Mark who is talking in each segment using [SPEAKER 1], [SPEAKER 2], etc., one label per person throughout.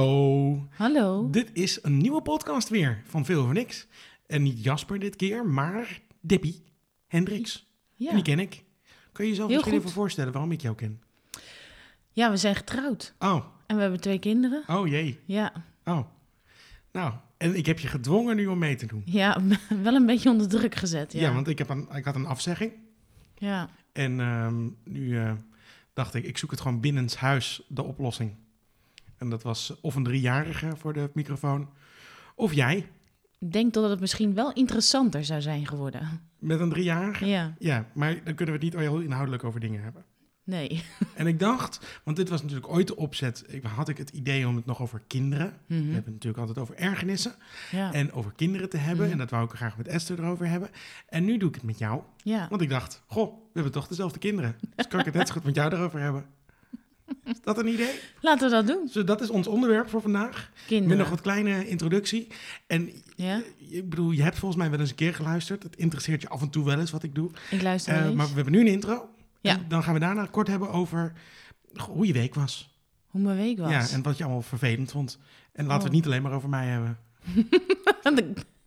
[SPEAKER 1] Hallo,
[SPEAKER 2] Hallo.
[SPEAKER 1] dit is een nieuwe podcast weer van Veel Over Niks. En niet Jasper dit keer, maar Debbie Hendricks. En
[SPEAKER 2] Ja.
[SPEAKER 1] die ken ik. Kun je jezelf
[SPEAKER 2] Heel
[SPEAKER 1] misschien
[SPEAKER 2] goed.
[SPEAKER 1] even voorstellen waarom ik jou ken?
[SPEAKER 2] ja, we zijn getrouwd
[SPEAKER 1] Oh,
[SPEAKER 2] en we hebben twee kinderen.
[SPEAKER 1] oh jee,
[SPEAKER 2] Ja,
[SPEAKER 1] oh. Nou, en ik heb je gedwongen nu om mee te doen.
[SPEAKER 2] ja wel een beetje onder druk gezet.
[SPEAKER 1] Ja,
[SPEAKER 2] Ja,
[SPEAKER 1] want ik, heb een, ik had een afzegging.
[SPEAKER 2] ja.
[SPEAKER 1] En ehm, nu eh, dacht ik, ik zoek het gewoon binnenshuis, de oplossing. En dat was of een driejarige voor de microfoon, of jij
[SPEAKER 2] Ik denk dat het misschien wel interessanter zou zijn geworden.
[SPEAKER 1] met een driejarige.
[SPEAKER 2] Ja,
[SPEAKER 1] Ja, maar dan kunnen we het niet heel inhoudelijk over dingen hebben.
[SPEAKER 2] nee.
[SPEAKER 1] En ik dacht, want dit was natuurlijk ooit de opzet, ik, had ik het idee om het nog over kinderen. We
[SPEAKER 2] Mhm.
[SPEAKER 1] hebben het natuurlijk altijd over ergernissen
[SPEAKER 2] Ja,
[SPEAKER 1] en over kinderen te hebben.
[SPEAKER 2] Mhm.
[SPEAKER 1] En dat wou ik graag met Esther erover hebben. En nu doe ik het met jou,
[SPEAKER 2] ja.
[SPEAKER 1] want ik dacht, goh, we hebben toch dezelfde kinderen. Dus kan ik het net zo goed met jou erover hebben. Is dat een idee?
[SPEAKER 2] Laten we dat doen,
[SPEAKER 1] Dus dat is ons onderwerp voor vandaag. Met nog
[SPEAKER 2] kinderen.
[SPEAKER 1] wat kleine introductie. En
[SPEAKER 2] Ja,
[SPEAKER 1] ik bedoel, je hebt volgens mij wel eens een keer geluisterd. Het interesseert je af en toe wel eens wat ik doe.
[SPEAKER 2] ik luister
[SPEAKER 1] Eh,
[SPEAKER 2] wel eens.
[SPEAKER 1] maar we hebben nu een intro.
[SPEAKER 2] Ja.
[SPEAKER 1] En dan gaan we daarna kort hebben over hoe je week was.
[SPEAKER 2] Hoe mijn week was.
[SPEAKER 1] Ja, en wat je allemaal vervelend vond. En laten we het
[SPEAKER 2] Oh.
[SPEAKER 1] niet alleen maar over mij hebben.
[SPEAKER 2] Want ik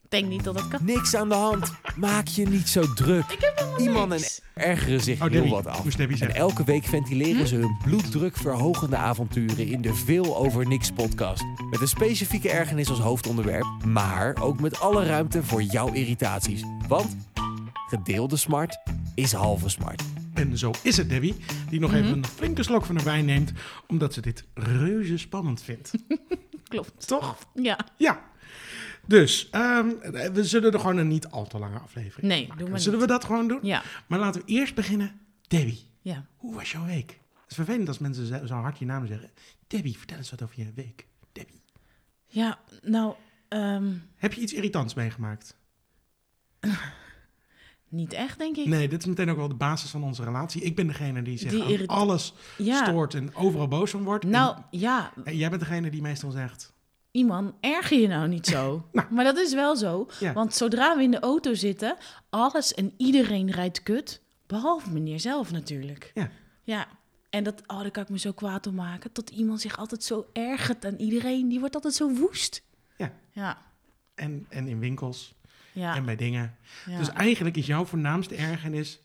[SPEAKER 2] denk niet dat dat kan.
[SPEAKER 3] Niks aan de hand. Maak je niet zo druk.
[SPEAKER 2] Ik heb helemaal
[SPEAKER 3] Iemand
[SPEAKER 2] niks.
[SPEAKER 3] Ergeren zich
[SPEAKER 1] Oh,
[SPEAKER 3] heel
[SPEAKER 1] Debbie.
[SPEAKER 3] wat af.
[SPEAKER 1] Moest Debbie
[SPEAKER 3] En
[SPEAKER 1] zeggen.
[SPEAKER 3] elke week ventileren ze hun bloeddrukverhogende avonturen in de Veel Over Niks podcast. Met een specifieke ergernis als hoofdonderwerp, maar ook met alle ruimte voor jouw irritaties. Want gedeelde smart is halve smart.
[SPEAKER 1] En zo is het, Debbie. Die nog
[SPEAKER 2] Mhm.
[SPEAKER 1] even een flinke slok van haar wijn neemt. Omdat ze dit reuze spannend vindt.
[SPEAKER 2] Klopt.
[SPEAKER 1] Toch?
[SPEAKER 2] Ja,
[SPEAKER 1] Ja. Dus, ehm, we zullen er gewoon een niet al te lange aflevering
[SPEAKER 2] nee,
[SPEAKER 1] maken.
[SPEAKER 2] doe maar
[SPEAKER 1] Zullen
[SPEAKER 2] niet.
[SPEAKER 1] we dat gewoon doen?
[SPEAKER 2] Ja,
[SPEAKER 1] Maar laten we eerst beginnen. Debbie,
[SPEAKER 2] ja.
[SPEAKER 1] hoe was jouw week? Het is vervelend als mensen ze- zo hard je naam zeggen. Debbie, vertel eens wat over je week. Debbie.
[SPEAKER 2] Ja, nou, ehm,
[SPEAKER 1] Heb je iets irritants meegemaakt?
[SPEAKER 2] niet echt, denk ik.
[SPEAKER 1] Nee, dit is meteen ook wel de basis van onze relatie. Ik ben degene die zich
[SPEAKER 2] Die
[SPEAKER 1] aan
[SPEAKER 2] irrit-
[SPEAKER 1] alles
[SPEAKER 2] ja.
[SPEAKER 1] stoort en overal boos van wordt.
[SPEAKER 2] Nou, ja,
[SPEAKER 1] En, en jij bent degene die meestal zegt...
[SPEAKER 2] Iman, erger je nou niet zo.
[SPEAKER 1] Nou.
[SPEAKER 2] Maar dat is wel zo.
[SPEAKER 1] Ja.
[SPEAKER 2] Want zodra we in de auto zitten, alles en iedereen rijdt kut. Behalve meneer zelf natuurlijk.
[SPEAKER 1] Ja.
[SPEAKER 2] Ja. En dat, oh, daar kan ik me zo kwaad om maken. Dat iemand zich altijd zo ergert aan iedereen. Die wordt altijd zo woest.
[SPEAKER 1] Ja.
[SPEAKER 2] Ja.
[SPEAKER 1] En, en in winkels
[SPEAKER 2] Ja.
[SPEAKER 1] en bij dingen.
[SPEAKER 2] ja.
[SPEAKER 1] Dus eigenlijk is jouw voornaamste ergernis...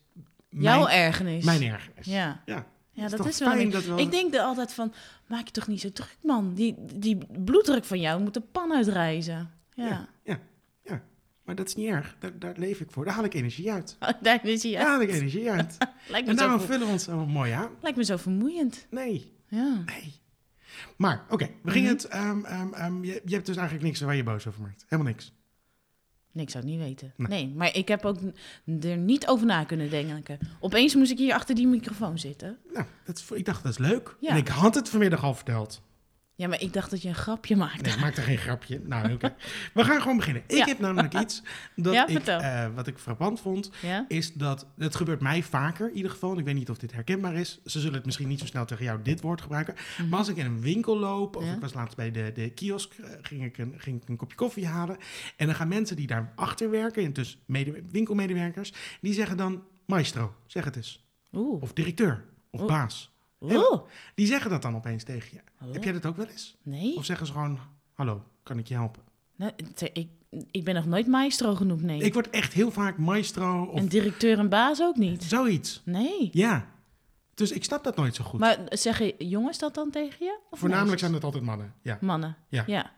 [SPEAKER 2] Jouw
[SPEAKER 1] mijn,
[SPEAKER 2] ergernis.
[SPEAKER 1] mijn ergernis.
[SPEAKER 2] Ja.
[SPEAKER 1] Ja.
[SPEAKER 2] Ja, dat
[SPEAKER 1] toch
[SPEAKER 2] is wel.
[SPEAKER 1] fijn
[SPEAKER 2] een-
[SPEAKER 1] dat we-
[SPEAKER 2] Ik denk er altijd van, maak je toch niet zo druk, man. Die, die bloeddruk van jou moet de pan uitreizen. Ja.
[SPEAKER 1] Ja, ja, ja. Maar dat is niet erg. Daar, daar leef ik voor. Daar haal ik energie uit.
[SPEAKER 2] Daar is hij.
[SPEAKER 1] Daar
[SPEAKER 2] Ja.
[SPEAKER 1] haal ik energie uit.
[SPEAKER 2] Lijkt, me
[SPEAKER 1] En daarom
[SPEAKER 2] zo, ver-
[SPEAKER 1] vullen we ons zo mooi aan.
[SPEAKER 2] lijkt me zo vermoeiend.
[SPEAKER 1] Nee,
[SPEAKER 2] Ja.
[SPEAKER 1] nee. Maar, oké, we gingen
[SPEAKER 2] Mhm.
[SPEAKER 1] het... ehm, ehm, ehm, je, je hebt dus eigenlijk niks waar je boos over maakt. Helemaal niks.
[SPEAKER 2] Nee, ik zou het niet weten.
[SPEAKER 1] Nee.
[SPEAKER 2] Nee. maar ik heb ook n- er niet over na kunnen denken. Opeens moest ik hier achter die microfoon zitten.
[SPEAKER 1] Nou, dat is, ik dacht, dat is leuk.
[SPEAKER 2] Ja.
[SPEAKER 1] En ik had het vanmiddag al verteld.
[SPEAKER 2] Ja, maar ik dacht dat je een grapje maakte.
[SPEAKER 1] Nee, ik maak er geen grapje. Nou, oké. We gaan gewoon beginnen. Ik
[SPEAKER 2] Ja.
[SPEAKER 1] heb namelijk iets dat
[SPEAKER 2] Ja,
[SPEAKER 1] ik,
[SPEAKER 2] vertel.
[SPEAKER 1] eh, wat ik frappant vond,
[SPEAKER 2] Ja?
[SPEAKER 1] is dat, het gebeurt mij vaker in ieder geval, en ik weet niet of dit herkenbaar is, ze zullen het misschien niet zo snel tegen jou dit woord gebruiken, maar als ik in een winkel loop, of
[SPEAKER 2] Mhm. Ja.
[SPEAKER 1] ik was laatst bij de, de kiosk, eh, ging ik, een, ging ik een kopje koffie halen, en dan gaan mensen die daar achter werken, en dus mede, winkelmedewerkers, die zeggen dan, maestro, zeg het eens,
[SPEAKER 2] Oeh.
[SPEAKER 1] of directeur, of
[SPEAKER 2] Oh.
[SPEAKER 1] baas.
[SPEAKER 2] Oeh.
[SPEAKER 1] Die zeggen dat dan opeens tegen je.
[SPEAKER 2] Hallo?
[SPEAKER 1] Heb jij dat ook wel eens?
[SPEAKER 2] Nee.
[SPEAKER 1] Of zeggen ze gewoon, hallo, kan ik je helpen?
[SPEAKER 2] Nou, t- ik, ik ben nog nooit maestro genoemd, nee.
[SPEAKER 1] Ik word echt heel vaak maestro of
[SPEAKER 2] En directeur en baas ook niet.
[SPEAKER 1] zoiets.
[SPEAKER 2] Nee.
[SPEAKER 1] Ja. Dus ik snap dat nooit zo goed.
[SPEAKER 2] Maar zeggen jongens dat dan tegen je? Of
[SPEAKER 1] Voornamelijk
[SPEAKER 2] meisjes?
[SPEAKER 1] zijn het altijd mannen. Ja.
[SPEAKER 2] Mannen.
[SPEAKER 1] Ja.
[SPEAKER 2] ja.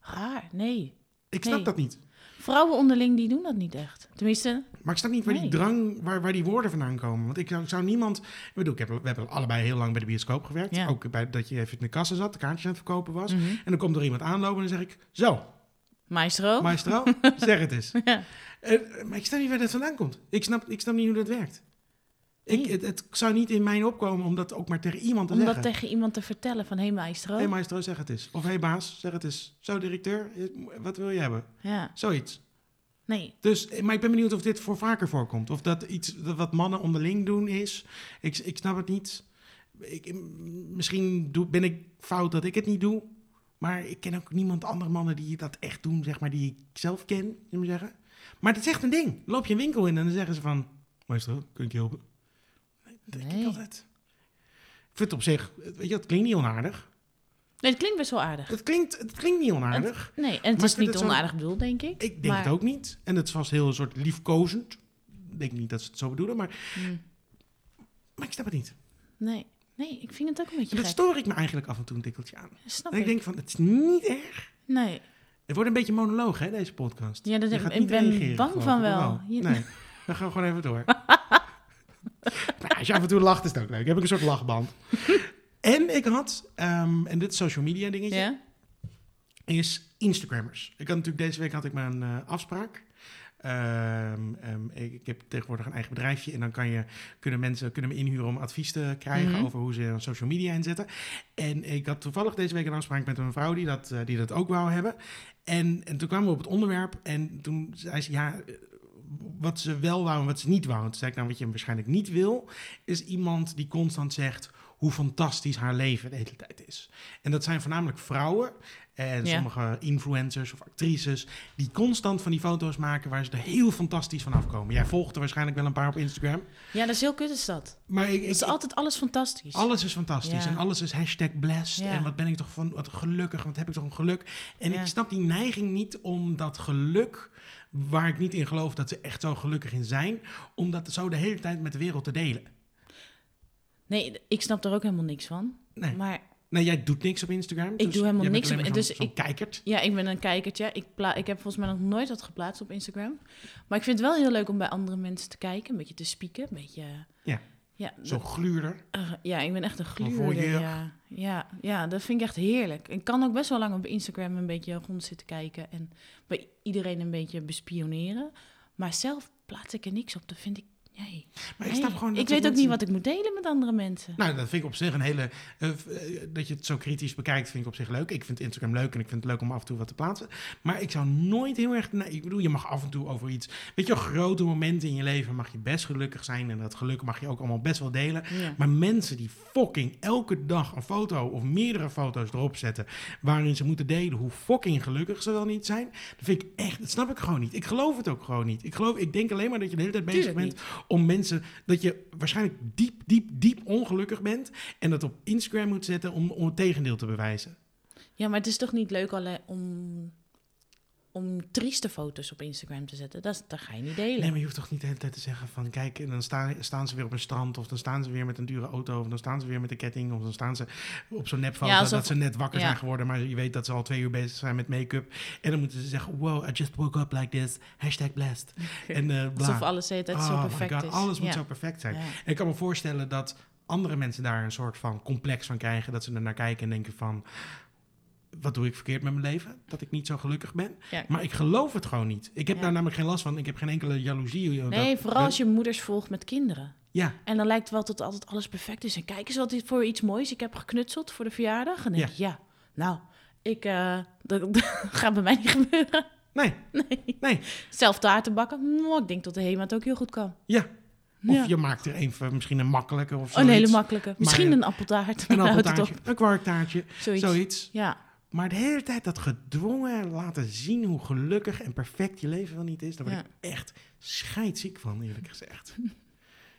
[SPEAKER 2] Raar, nee.
[SPEAKER 1] Ik snap
[SPEAKER 2] Nee.
[SPEAKER 1] dat niet.
[SPEAKER 2] Vrouwen onderling, die doen dat niet echt. Tenminste,
[SPEAKER 1] Maar ik snap niet waar die
[SPEAKER 2] Nee.
[SPEAKER 1] drang, waar, waar die woorden vandaan komen. Want ik zou, ik zou niemand... Ik bedoel, ik heb, we hebben allebei heel lang bij de bioscoop gewerkt.
[SPEAKER 2] Ja.
[SPEAKER 1] Ook bij, dat je even in de kassa zat, de kaartjes aan het verkopen was.
[SPEAKER 2] Mhm.
[SPEAKER 1] En dan komt er iemand aanlopen en dan zeg ik... Zo,
[SPEAKER 2] maestro.
[SPEAKER 1] maestro, zeg het eens. Eh, maar ik snap niet waar dat vandaan komt. Ik snap, ik snap niet hoe dat werkt. Ik,
[SPEAKER 2] Nee.
[SPEAKER 1] het, het zou niet in mij opkomen om dat ook maar tegen iemand te
[SPEAKER 2] Om dat
[SPEAKER 1] zeggen.
[SPEAKER 2] tegen iemand te vertellen van, hé hey, maestro.
[SPEAKER 1] Hé hey maestro, zeg het eens. Of hé hey baas, zeg het eens. Zo directeur, eh, wat wil je hebben?
[SPEAKER 2] ja,
[SPEAKER 1] Zoiets.
[SPEAKER 2] nee.
[SPEAKER 1] Dus, eh, maar ik ben benieuwd of dit voor vaker voorkomt. Of dat iets dat wat mannen onderling doen is. Ik, ik snap het niet. Ik, mm, misschien doe, ben ik fout dat ik het niet doe. Maar ik ken ook niemand andere mannen die dat echt doen, zeg maar, die ik zelf ken, zullen we maar zeggen. Maar dat is echt een ding. Loop je een winkel in en dan zeggen ze van... Maestro, kun ik je helpen? Nee, dat denk ik
[SPEAKER 2] Nee.
[SPEAKER 1] eh, altijd. Ik vind het op zich, weet je, het klinkt niet onaardig.
[SPEAKER 2] Nee, het klinkt best wel aardig.
[SPEAKER 1] Het klinkt, het klinkt niet onaardig.
[SPEAKER 2] Nee, en het
[SPEAKER 1] Maar
[SPEAKER 2] is
[SPEAKER 1] ik vind
[SPEAKER 2] niet
[SPEAKER 1] het zo-
[SPEAKER 2] onaardig bedoeld, denk ik.
[SPEAKER 1] Ik denk
[SPEAKER 2] maar-
[SPEAKER 1] het ook niet. En het is vast heel een soort liefkozend. Ik denk niet dat ze het zo bedoelen, maar,
[SPEAKER 2] Hm.
[SPEAKER 1] maar ik snap het niet.
[SPEAKER 2] Nee, nee, ik vind het ook een beetje
[SPEAKER 1] En dat
[SPEAKER 2] gek.
[SPEAKER 1] stoor ik me eigenlijk af en toe een tikkeltje aan.
[SPEAKER 2] Snap
[SPEAKER 1] En ik
[SPEAKER 2] ik.
[SPEAKER 1] denk van, het is niet erg.
[SPEAKER 2] Nee,
[SPEAKER 1] Het wordt een beetje monoloog, hè, deze podcast.
[SPEAKER 2] Ja, dat
[SPEAKER 1] Je
[SPEAKER 2] heb-
[SPEAKER 1] gaat
[SPEAKER 2] ik
[SPEAKER 1] niet
[SPEAKER 2] ben
[SPEAKER 1] reageren,
[SPEAKER 2] bang
[SPEAKER 1] geloof
[SPEAKER 2] van
[SPEAKER 1] ik, of
[SPEAKER 2] wel. Je-
[SPEAKER 1] Nee, dan gaan we gewoon even door. nou, als je af en toe lacht, is het ook leuk. Dan heb ik een soort lachband. en ik had, ehm, en dit is social media dingetje,
[SPEAKER 2] ja?
[SPEAKER 1] is Instagrammers. Ik had natuurlijk deze week had ik mijn eh, afspraak. Ehm, ehm, ik, ik heb tegenwoordig een eigen bedrijfje en dan kan je, kunnen mensen kunnen me inhuren om advies te krijgen
[SPEAKER 2] Mhm.
[SPEAKER 1] over hoe ze hun social media inzetten. En ik had toevallig deze week een afspraak met een vrouw die dat, eh, die dat ook wou hebben. En, en toen kwamen we op het onderwerp en toen zei ze ja, eh, wat ze wel wou en wat ze niet wou. En toen zei ik nou wat je waarschijnlijk niet wil, is iemand die constant zegt hoe fantastisch haar leven de hele tijd is. En dat zijn voornamelijk vrouwen en
[SPEAKER 2] Ja.
[SPEAKER 1] sommige influencers of actrices die constant van die foto's maken waar ze er heel fantastisch van afkomen. Jij volgt er waarschijnlijk wel een paar op Instagram.
[SPEAKER 2] ja, dat is heel kut is dat.
[SPEAKER 1] Maar ik,
[SPEAKER 2] Dat
[SPEAKER 1] ik-
[SPEAKER 2] is altijd alles fantastisch.
[SPEAKER 1] alles is fantastisch
[SPEAKER 2] Ja.
[SPEAKER 1] en alles is hashtag blessed.
[SPEAKER 2] Ja.
[SPEAKER 1] En wat ben ik toch van, wat gelukkig, wat heb ik toch een geluk. En
[SPEAKER 2] Ja.
[SPEAKER 1] ik snap die neiging niet om dat geluk, waar ik niet in geloof dat ze echt zo gelukkig in zijn, om dat zo de hele tijd met de wereld te delen.
[SPEAKER 2] Nee, d- ik snap er ook helemaal niks van.
[SPEAKER 1] Nee,
[SPEAKER 2] Maar
[SPEAKER 1] nee jij doet niks op Instagram. Ik
[SPEAKER 2] doe helemaal niks op- dus
[SPEAKER 1] zo'n
[SPEAKER 2] ik-
[SPEAKER 1] kijkert.
[SPEAKER 2] ja, ik ben een kijkertje. Ik, pla- ik heb volgens mij nog nooit wat geplaatst op Instagram. Maar ik vind het wel heel leuk om bij andere mensen te kijken. Een beetje te spieken. Een beetje...
[SPEAKER 1] Ja.
[SPEAKER 2] Ja,
[SPEAKER 1] Zo'n gluurder.
[SPEAKER 2] Eh, ja, ik ben echt een
[SPEAKER 1] Gewoon
[SPEAKER 2] gluurder.
[SPEAKER 1] voyeur.
[SPEAKER 2] Ja. Ja, ja, dat vind ik echt heerlijk. Ik kan ook best wel lang op Instagram een beetje rond zitten kijken en bij iedereen een beetje bespioneren. Maar zelf plaats ik er niks op. Dat vind ik. Nee.
[SPEAKER 1] Maar ik snap
[SPEAKER 2] Nee.
[SPEAKER 1] gewoon dat dat
[SPEAKER 2] ik weet ook
[SPEAKER 1] mensen-
[SPEAKER 2] niet wat ik moet delen met andere mensen.
[SPEAKER 1] Nou, dat vind ik op zich een hele... eh, f- eh, dat je het zo kritisch bekijkt, vind ik op zich leuk. Ik vind Instagram leuk en ik vind het leuk om af en toe wat te plaatsen. Maar ik zou nooit heel erg... Nee, ik bedoel, je mag af en toe over iets... Weet je, wel, grote momenten in je leven mag je best gelukkig zijn. En dat geluk mag je ook allemaal best wel delen.
[SPEAKER 2] Ja.
[SPEAKER 1] Maar mensen die fucking elke dag een foto of meerdere foto's erop zetten... waarin ze moeten delen hoe fucking gelukkig ze wel niet zijn... dat vind ik echt... Dat snap ik gewoon niet. Ik geloof het ook gewoon niet. Ik, geloof, ik denk alleen maar dat je de hele tijd bezig
[SPEAKER 2] Tuurlijk
[SPEAKER 1] bent om mensen dat je waarschijnlijk diep, diep, diep ongelukkig bent en dat op Instagram moet zetten om, om het tegendeel te bewijzen.
[SPEAKER 2] Ja, maar het is toch niet leuk alleen om, om trieste foto's op Instagram te zetten? Dat, is- dat ga je niet delen.
[SPEAKER 1] Nee, maar je hoeft toch niet de hele tijd te zeggen van kijk, en dan staan, staan ze weer op een strand of dan staan ze weer met een dure auto of dan staan ze weer met een ketting of dan staan ze op zo'n nepfoto
[SPEAKER 2] Ja, alsof-
[SPEAKER 1] dat ze net wakker
[SPEAKER 2] ja.
[SPEAKER 1] zijn geworden, maar je weet dat ze al twee uur bezig zijn met make-up en dan moeten ze zeggen wow, I just woke up like this, hashtag blessed. En, eh bla.
[SPEAKER 2] Alsof alles de hele tijd zo
[SPEAKER 1] Oh my
[SPEAKER 2] perfect
[SPEAKER 1] God,
[SPEAKER 2] is.
[SPEAKER 1] Alles moet
[SPEAKER 2] Ja.
[SPEAKER 1] zo perfect zijn.
[SPEAKER 2] Ja.
[SPEAKER 1] En ik kan me voorstellen dat andere mensen daar een soort van complex van krijgen. Dat ze er naar kijken en denken van... Wat doe ik verkeerd met mijn leven? Dat ik niet zo gelukkig ben.
[SPEAKER 2] Ja.
[SPEAKER 1] Maar ik geloof het gewoon niet. Ik heb
[SPEAKER 2] Ja.
[SPEAKER 1] daar namelijk geen last van. Ik heb geen enkele jaloezie. eh,
[SPEAKER 2] Nee,
[SPEAKER 1] dat-
[SPEAKER 2] vooral
[SPEAKER 1] eh,
[SPEAKER 2] als je moeders volgt met kinderen.
[SPEAKER 1] Ja,
[SPEAKER 2] En dan lijkt het wel dat altijd alles perfect is. En kijk eens wat dit voor iets moois ik heb geknutseld voor de verjaardag. En dan denk ik, ja, nou, ik, eh, dat, dat gaat bij mij niet gebeuren.
[SPEAKER 1] nee.
[SPEAKER 2] Zelf taarten bakken, nou, ik denk dat de HEMA het ook heel goed kan.
[SPEAKER 1] Ja. Of
[SPEAKER 2] Ja. Oh,
[SPEAKER 1] je maakt er een, van, misschien een makkelijke of
[SPEAKER 2] Een
[SPEAKER 1] zoiets.
[SPEAKER 2] hele makkelijke. Misschien
[SPEAKER 1] Maar- eh,
[SPEAKER 2] een appeltaart.
[SPEAKER 1] Een
[SPEAKER 2] maar houdt het
[SPEAKER 1] appeltaartje, een kwarktaartje,
[SPEAKER 2] op. Zoiets.
[SPEAKER 1] zoiets.
[SPEAKER 2] Ja,
[SPEAKER 1] Maar de hele tijd dat gedwongen laten zien hoe gelukkig en perfect je leven wel niet is, daar word
[SPEAKER 2] Ja.
[SPEAKER 1] ik echt scheidziek van, eerlijk gezegd.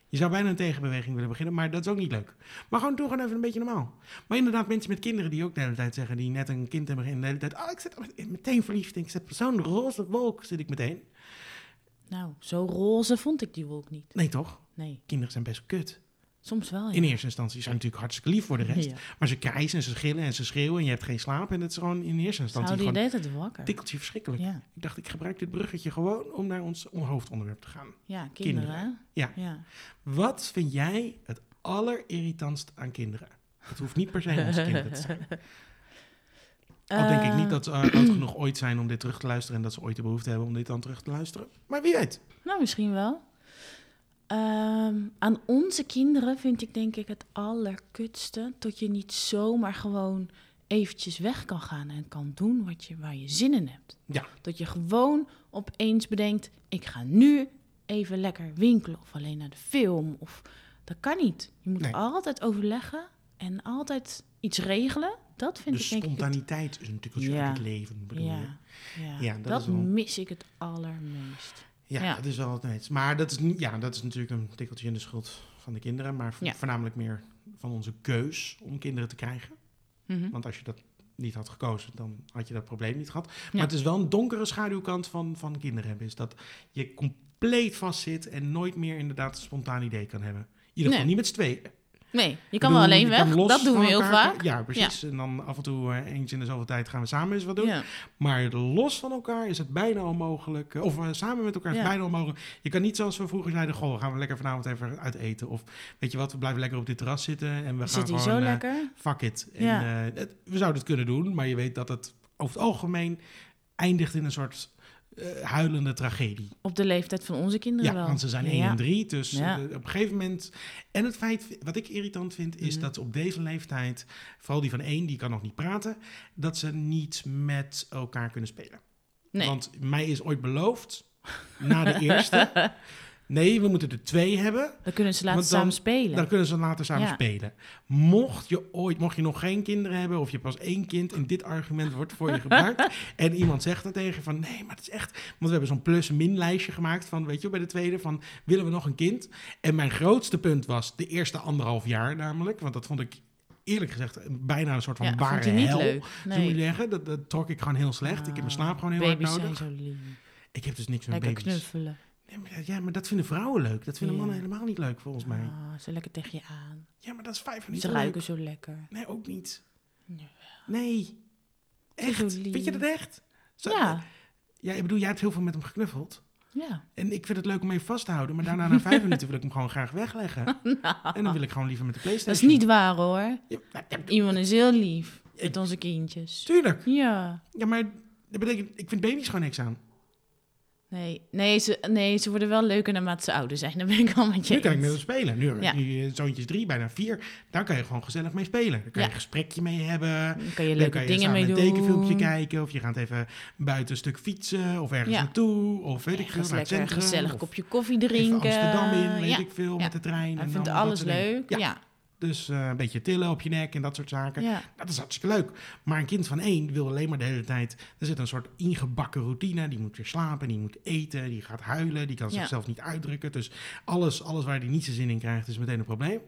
[SPEAKER 1] Je zou bijna een tegenbeweging willen beginnen, maar dat is ook niet leuk. Maar gewoon doe gewoon even een beetje normaal. Maar inderdaad, mensen met kinderen die ook de hele tijd zeggen, die net een kind hebben en de hele tijd, ah, ik zit al met- meteen verliefd, en ik zit op zo'n roze wolk, zit ik meteen.
[SPEAKER 2] nou, zo roze vond ik die wolk niet.
[SPEAKER 1] Nee toch?
[SPEAKER 2] Nee,
[SPEAKER 1] Kinderen zijn best kut.
[SPEAKER 2] soms wel. Oh Ja.
[SPEAKER 1] In eerste instantie zijn ze natuurlijk hartstikke lief voor de rest.
[SPEAKER 2] Ja.
[SPEAKER 1] Maar ze krijsen en ze schillen en ze schreeuwen en je hebt geen slaap. En dat is gewoon in eerste
[SPEAKER 2] Ze
[SPEAKER 1] instantie
[SPEAKER 2] houden je de
[SPEAKER 1] gewoon
[SPEAKER 2] hele tijd wakker.
[SPEAKER 1] een tikkeltje verschrikkelijk.
[SPEAKER 2] Ja,
[SPEAKER 1] Ik dacht, ik gebruik dit bruggetje gewoon om naar ons hoofdonderwerp te gaan.
[SPEAKER 2] ja kinderen. hè?
[SPEAKER 1] Ja.
[SPEAKER 2] ja.
[SPEAKER 1] Wat vind jij het allerirritantst aan kinderen? Het hoeft niet per se onze kinderen te zijn. Al denk ik
[SPEAKER 2] Eh,
[SPEAKER 1] niet dat ze eh, oud genoeg ooit zijn om dit terug te luisteren... en dat ze ooit de behoefte hebben om dit dan terug te luisteren. Maar wie weet.
[SPEAKER 2] Nou, misschien wel. Ehm, aan onze kinderen vind ik denk ik het allerkutste... dat je niet zomaar gewoon eventjes weg kan gaan... en kan doen wat je, waar je zin in hebt.
[SPEAKER 1] Ja.
[SPEAKER 2] Dat je gewoon opeens bedenkt... ik ga nu even lekker winkelen of alleen naar de film. Of, dat kan niet. Je moet
[SPEAKER 1] Nee.
[SPEAKER 2] altijd overleggen en altijd iets regelen. Dat vind
[SPEAKER 1] De
[SPEAKER 2] ik denk ik... het-
[SPEAKER 1] spontaniteit is een tikkeltje
[SPEAKER 2] Ja.
[SPEAKER 1] uit het leven. Bedoel je.
[SPEAKER 2] Ja, ja.
[SPEAKER 1] Ja, dat
[SPEAKER 2] dat,
[SPEAKER 1] is wel-
[SPEAKER 2] mis ik het allermeest.
[SPEAKER 1] Ja,
[SPEAKER 2] Ja.
[SPEAKER 1] dat is wel wat iets. Maar dat is, niet- ja, dat is natuurlijk een tikkeltje in de schuld van de kinderen. Maar vo-
[SPEAKER 2] Ja.
[SPEAKER 1] Mhm. voornamelijk meer van onze keus om kinderen te krijgen. Want als je dat niet had gekozen, dan had je dat probleem niet gehad.
[SPEAKER 2] Ja.
[SPEAKER 1] Maar het is wel een donkere schaduwkant van, van kinderen hebben. Is dat je compleet vastzit en nooit meer inderdaad een spontaan idee kan hebben. In ieder geval
[SPEAKER 2] Nee.
[SPEAKER 1] niet met z'n tweeën.
[SPEAKER 2] Nee, je
[SPEAKER 1] Ik
[SPEAKER 2] kan
[SPEAKER 1] bedoel,
[SPEAKER 2] wel alleen
[SPEAKER 1] je kan
[SPEAKER 2] weg.
[SPEAKER 1] los
[SPEAKER 2] Dat doen we
[SPEAKER 1] van
[SPEAKER 2] heel
[SPEAKER 1] elkaar-
[SPEAKER 2] vaak.
[SPEAKER 1] Ja, precies. En dan af en toe eh, eens in de zoveel tijd gaan we samen eens wat doen.
[SPEAKER 2] Ja.
[SPEAKER 1] Maar los van elkaar is het bijna onmogelijk. Of eh, samen met elkaar is het
[SPEAKER 2] Ja.
[SPEAKER 1] bijna onmogelijk. Je kan niet zoals we vroeger zeiden: Goh, gaan we lekker vanavond even uit eten. Of weet je wat, we blijven lekker op dit terras zitten. En we
[SPEAKER 2] We
[SPEAKER 1] gaan
[SPEAKER 2] zitten hier
[SPEAKER 1] gewoon,
[SPEAKER 2] zo
[SPEAKER 1] eh,
[SPEAKER 2] lekker.
[SPEAKER 1] Fuck it. En,
[SPEAKER 2] Ja.
[SPEAKER 1] eh, het- we zouden het kunnen doen, maar je weet dat het over het algemeen eindigt in een soort eh, huilende tragedie.
[SPEAKER 2] Op de leeftijd van onze kinderen
[SPEAKER 1] Ja,
[SPEAKER 2] wel.
[SPEAKER 1] want ze zijn 1
[SPEAKER 2] Ja.
[SPEAKER 1] en 3. Dus
[SPEAKER 2] Ja.
[SPEAKER 1] eh, op een gegeven moment. En het feit, wat ik irritant vind, is
[SPEAKER 2] Mhm.
[SPEAKER 1] dat ze op deze leeftijd, vooral die van 1, die kan nog niet praten, dat ze niet met elkaar kunnen spelen.
[SPEAKER 2] Nee.
[SPEAKER 1] Want mij is ooit beloofd, na de eerste. Nee, we moeten er twee hebben.
[SPEAKER 2] Dan kunnen ze laten
[SPEAKER 1] Want dan-
[SPEAKER 2] samen spelen.
[SPEAKER 1] Dan kunnen ze later samen
[SPEAKER 2] Ja.
[SPEAKER 1] spelen. Mocht je ooit, mocht je nog geen kinderen hebben of je hebt pas één kind en dit argument wordt voor je gebruikt en iemand zegt er tegen je van nee, maar het is echt, want we hebben zo'n plus-min lijstje gemaakt van weet je wel, bij de tweede van willen we nog een kind? En mijn grootste punt was de eerste anderhalf jaar namelijk, want dat vond ik eerlijk gezegd bijna een soort van
[SPEAKER 2] ja,
[SPEAKER 1] ware
[SPEAKER 2] vond je niet
[SPEAKER 1] hel.
[SPEAKER 2] leuk.
[SPEAKER 1] Zo moet je
[SPEAKER 2] Nee.
[SPEAKER 1] zeggen, dat, dat trok ik gewoon heel slecht. ik heb mijn
[SPEAKER 2] Ah,
[SPEAKER 1] slaap gewoon heel
[SPEAKER 2] Baby's
[SPEAKER 1] hard
[SPEAKER 2] zijn
[SPEAKER 1] nodig.
[SPEAKER 2] zo lief.
[SPEAKER 1] Ik heb dus niks met
[SPEAKER 2] Lekker
[SPEAKER 1] baby's.
[SPEAKER 2] knuffelen.
[SPEAKER 1] Nee, maar, ja, maar dat vinden vrouwen leuk. Dat vinden
[SPEAKER 2] Ja.
[SPEAKER 1] mannen helemaal niet leuk volgens mij.
[SPEAKER 2] Ah, ze lekker tegen je aan.
[SPEAKER 1] Ja, maar dat is vijf
[SPEAKER 2] Ze
[SPEAKER 1] minuten. leuk.
[SPEAKER 2] ruiken zo lekker.
[SPEAKER 1] Nee, ook niet.
[SPEAKER 2] Nee.
[SPEAKER 1] Nee. Echt?
[SPEAKER 2] zo lief.
[SPEAKER 1] Vind je dat echt? Zo-
[SPEAKER 2] Ja,
[SPEAKER 1] ja. Ik bedoel, jij hebt heel veel met hem geknuffeld.
[SPEAKER 2] ja.
[SPEAKER 1] En ik vind het leuk om even vast te houden. Maar daarna na vijf minuten wil ik hem gewoon graag wegleggen. En dan wil ik gewoon liever met de
[SPEAKER 2] Nou. Dat is
[SPEAKER 1] Playstation.
[SPEAKER 2] niet waar hoor.
[SPEAKER 1] Ja, nou, ja,
[SPEAKER 2] Iemand is heel lief
[SPEAKER 1] Ik-
[SPEAKER 2] met onze kindjes.
[SPEAKER 1] tuurlijk.
[SPEAKER 2] Ja.
[SPEAKER 1] Ja, maar dat betekent... Ik vind baby's gewoon niks aan.
[SPEAKER 2] Nee, nee, ze, nee, ze worden wel leuker naarmate ze ouder zijn. Dan ben ik al met je
[SPEAKER 1] Nu kan ik met hem
[SPEAKER 2] eens.
[SPEAKER 1] spelen. Nu,
[SPEAKER 2] Ja.
[SPEAKER 1] nu eh, zoontje is drie, bijna vier. Daar kan je gewoon gezellig mee spelen. Daar kan je
[SPEAKER 2] Ja.
[SPEAKER 1] een gesprekje mee hebben.
[SPEAKER 2] Dan kan je
[SPEAKER 1] Dan
[SPEAKER 2] leuke
[SPEAKER 1] kan je
[SPEAKER 2] dingen
[SPEAKER 1] samen
[SPEAKER 2] mee
[SPEAKER 1] een
[SPEAKER 2] doen.
[SPEAKER 1] tekenfilmpje kijken. Of je gaat even buiten een stuk fietsen. Of ergens
[SPEAKER 2] Ja.
[SPEAKER 1] naartoe. Of weet ik
[SPEAKER 2] Ergens
[SPEAKER 1] veel. Naar het
[SPEAKER 2] lekker
[SPEAKER 1] centrum,
[SPEAKER 2] een gezellig
[SPEAKER 1] of-
[SPEAKER 2] kopje koffie
[SPEAKER 1] Even
[SPEAKER 2] drinken.
[SPEAKER 1] Amsterdam in, weet
[SPEAKER 2] ja.
[SPEAKER 1] ik veel,
[SPEAKER 2] ja.
[SPEAKER 1] met de trein.
[SPEAKER 2] Hij
[SPEAKER 1] en
[SPEAKER 2] vindt
[SPEAKER 1] allemaal dat
[SPEAKER 2] alles
[SPEAKER 1] soort dingen.
[SPEAKER 2] leuk.
[SPEAKER 1] Ja,
[SPEAKER 2] Ja. Ja.
[SPEAKER 1] Dus eh, een beetje tillen op je nek en dat soort zaken. Dat is hartstikke leuk. Maar een kind van één wil alleen maar de hele tijd... Er zit een soort ingebakken routine. Die moet weer slapen, die moet eten, die gaat huilen. Die kan
[SPEAKER 2] Ja.
[SPEAKER 1] zichzelf niet uitdrukken. Dus alles, alles waar hij niet zijn zin in krijgt is meteen een probleem.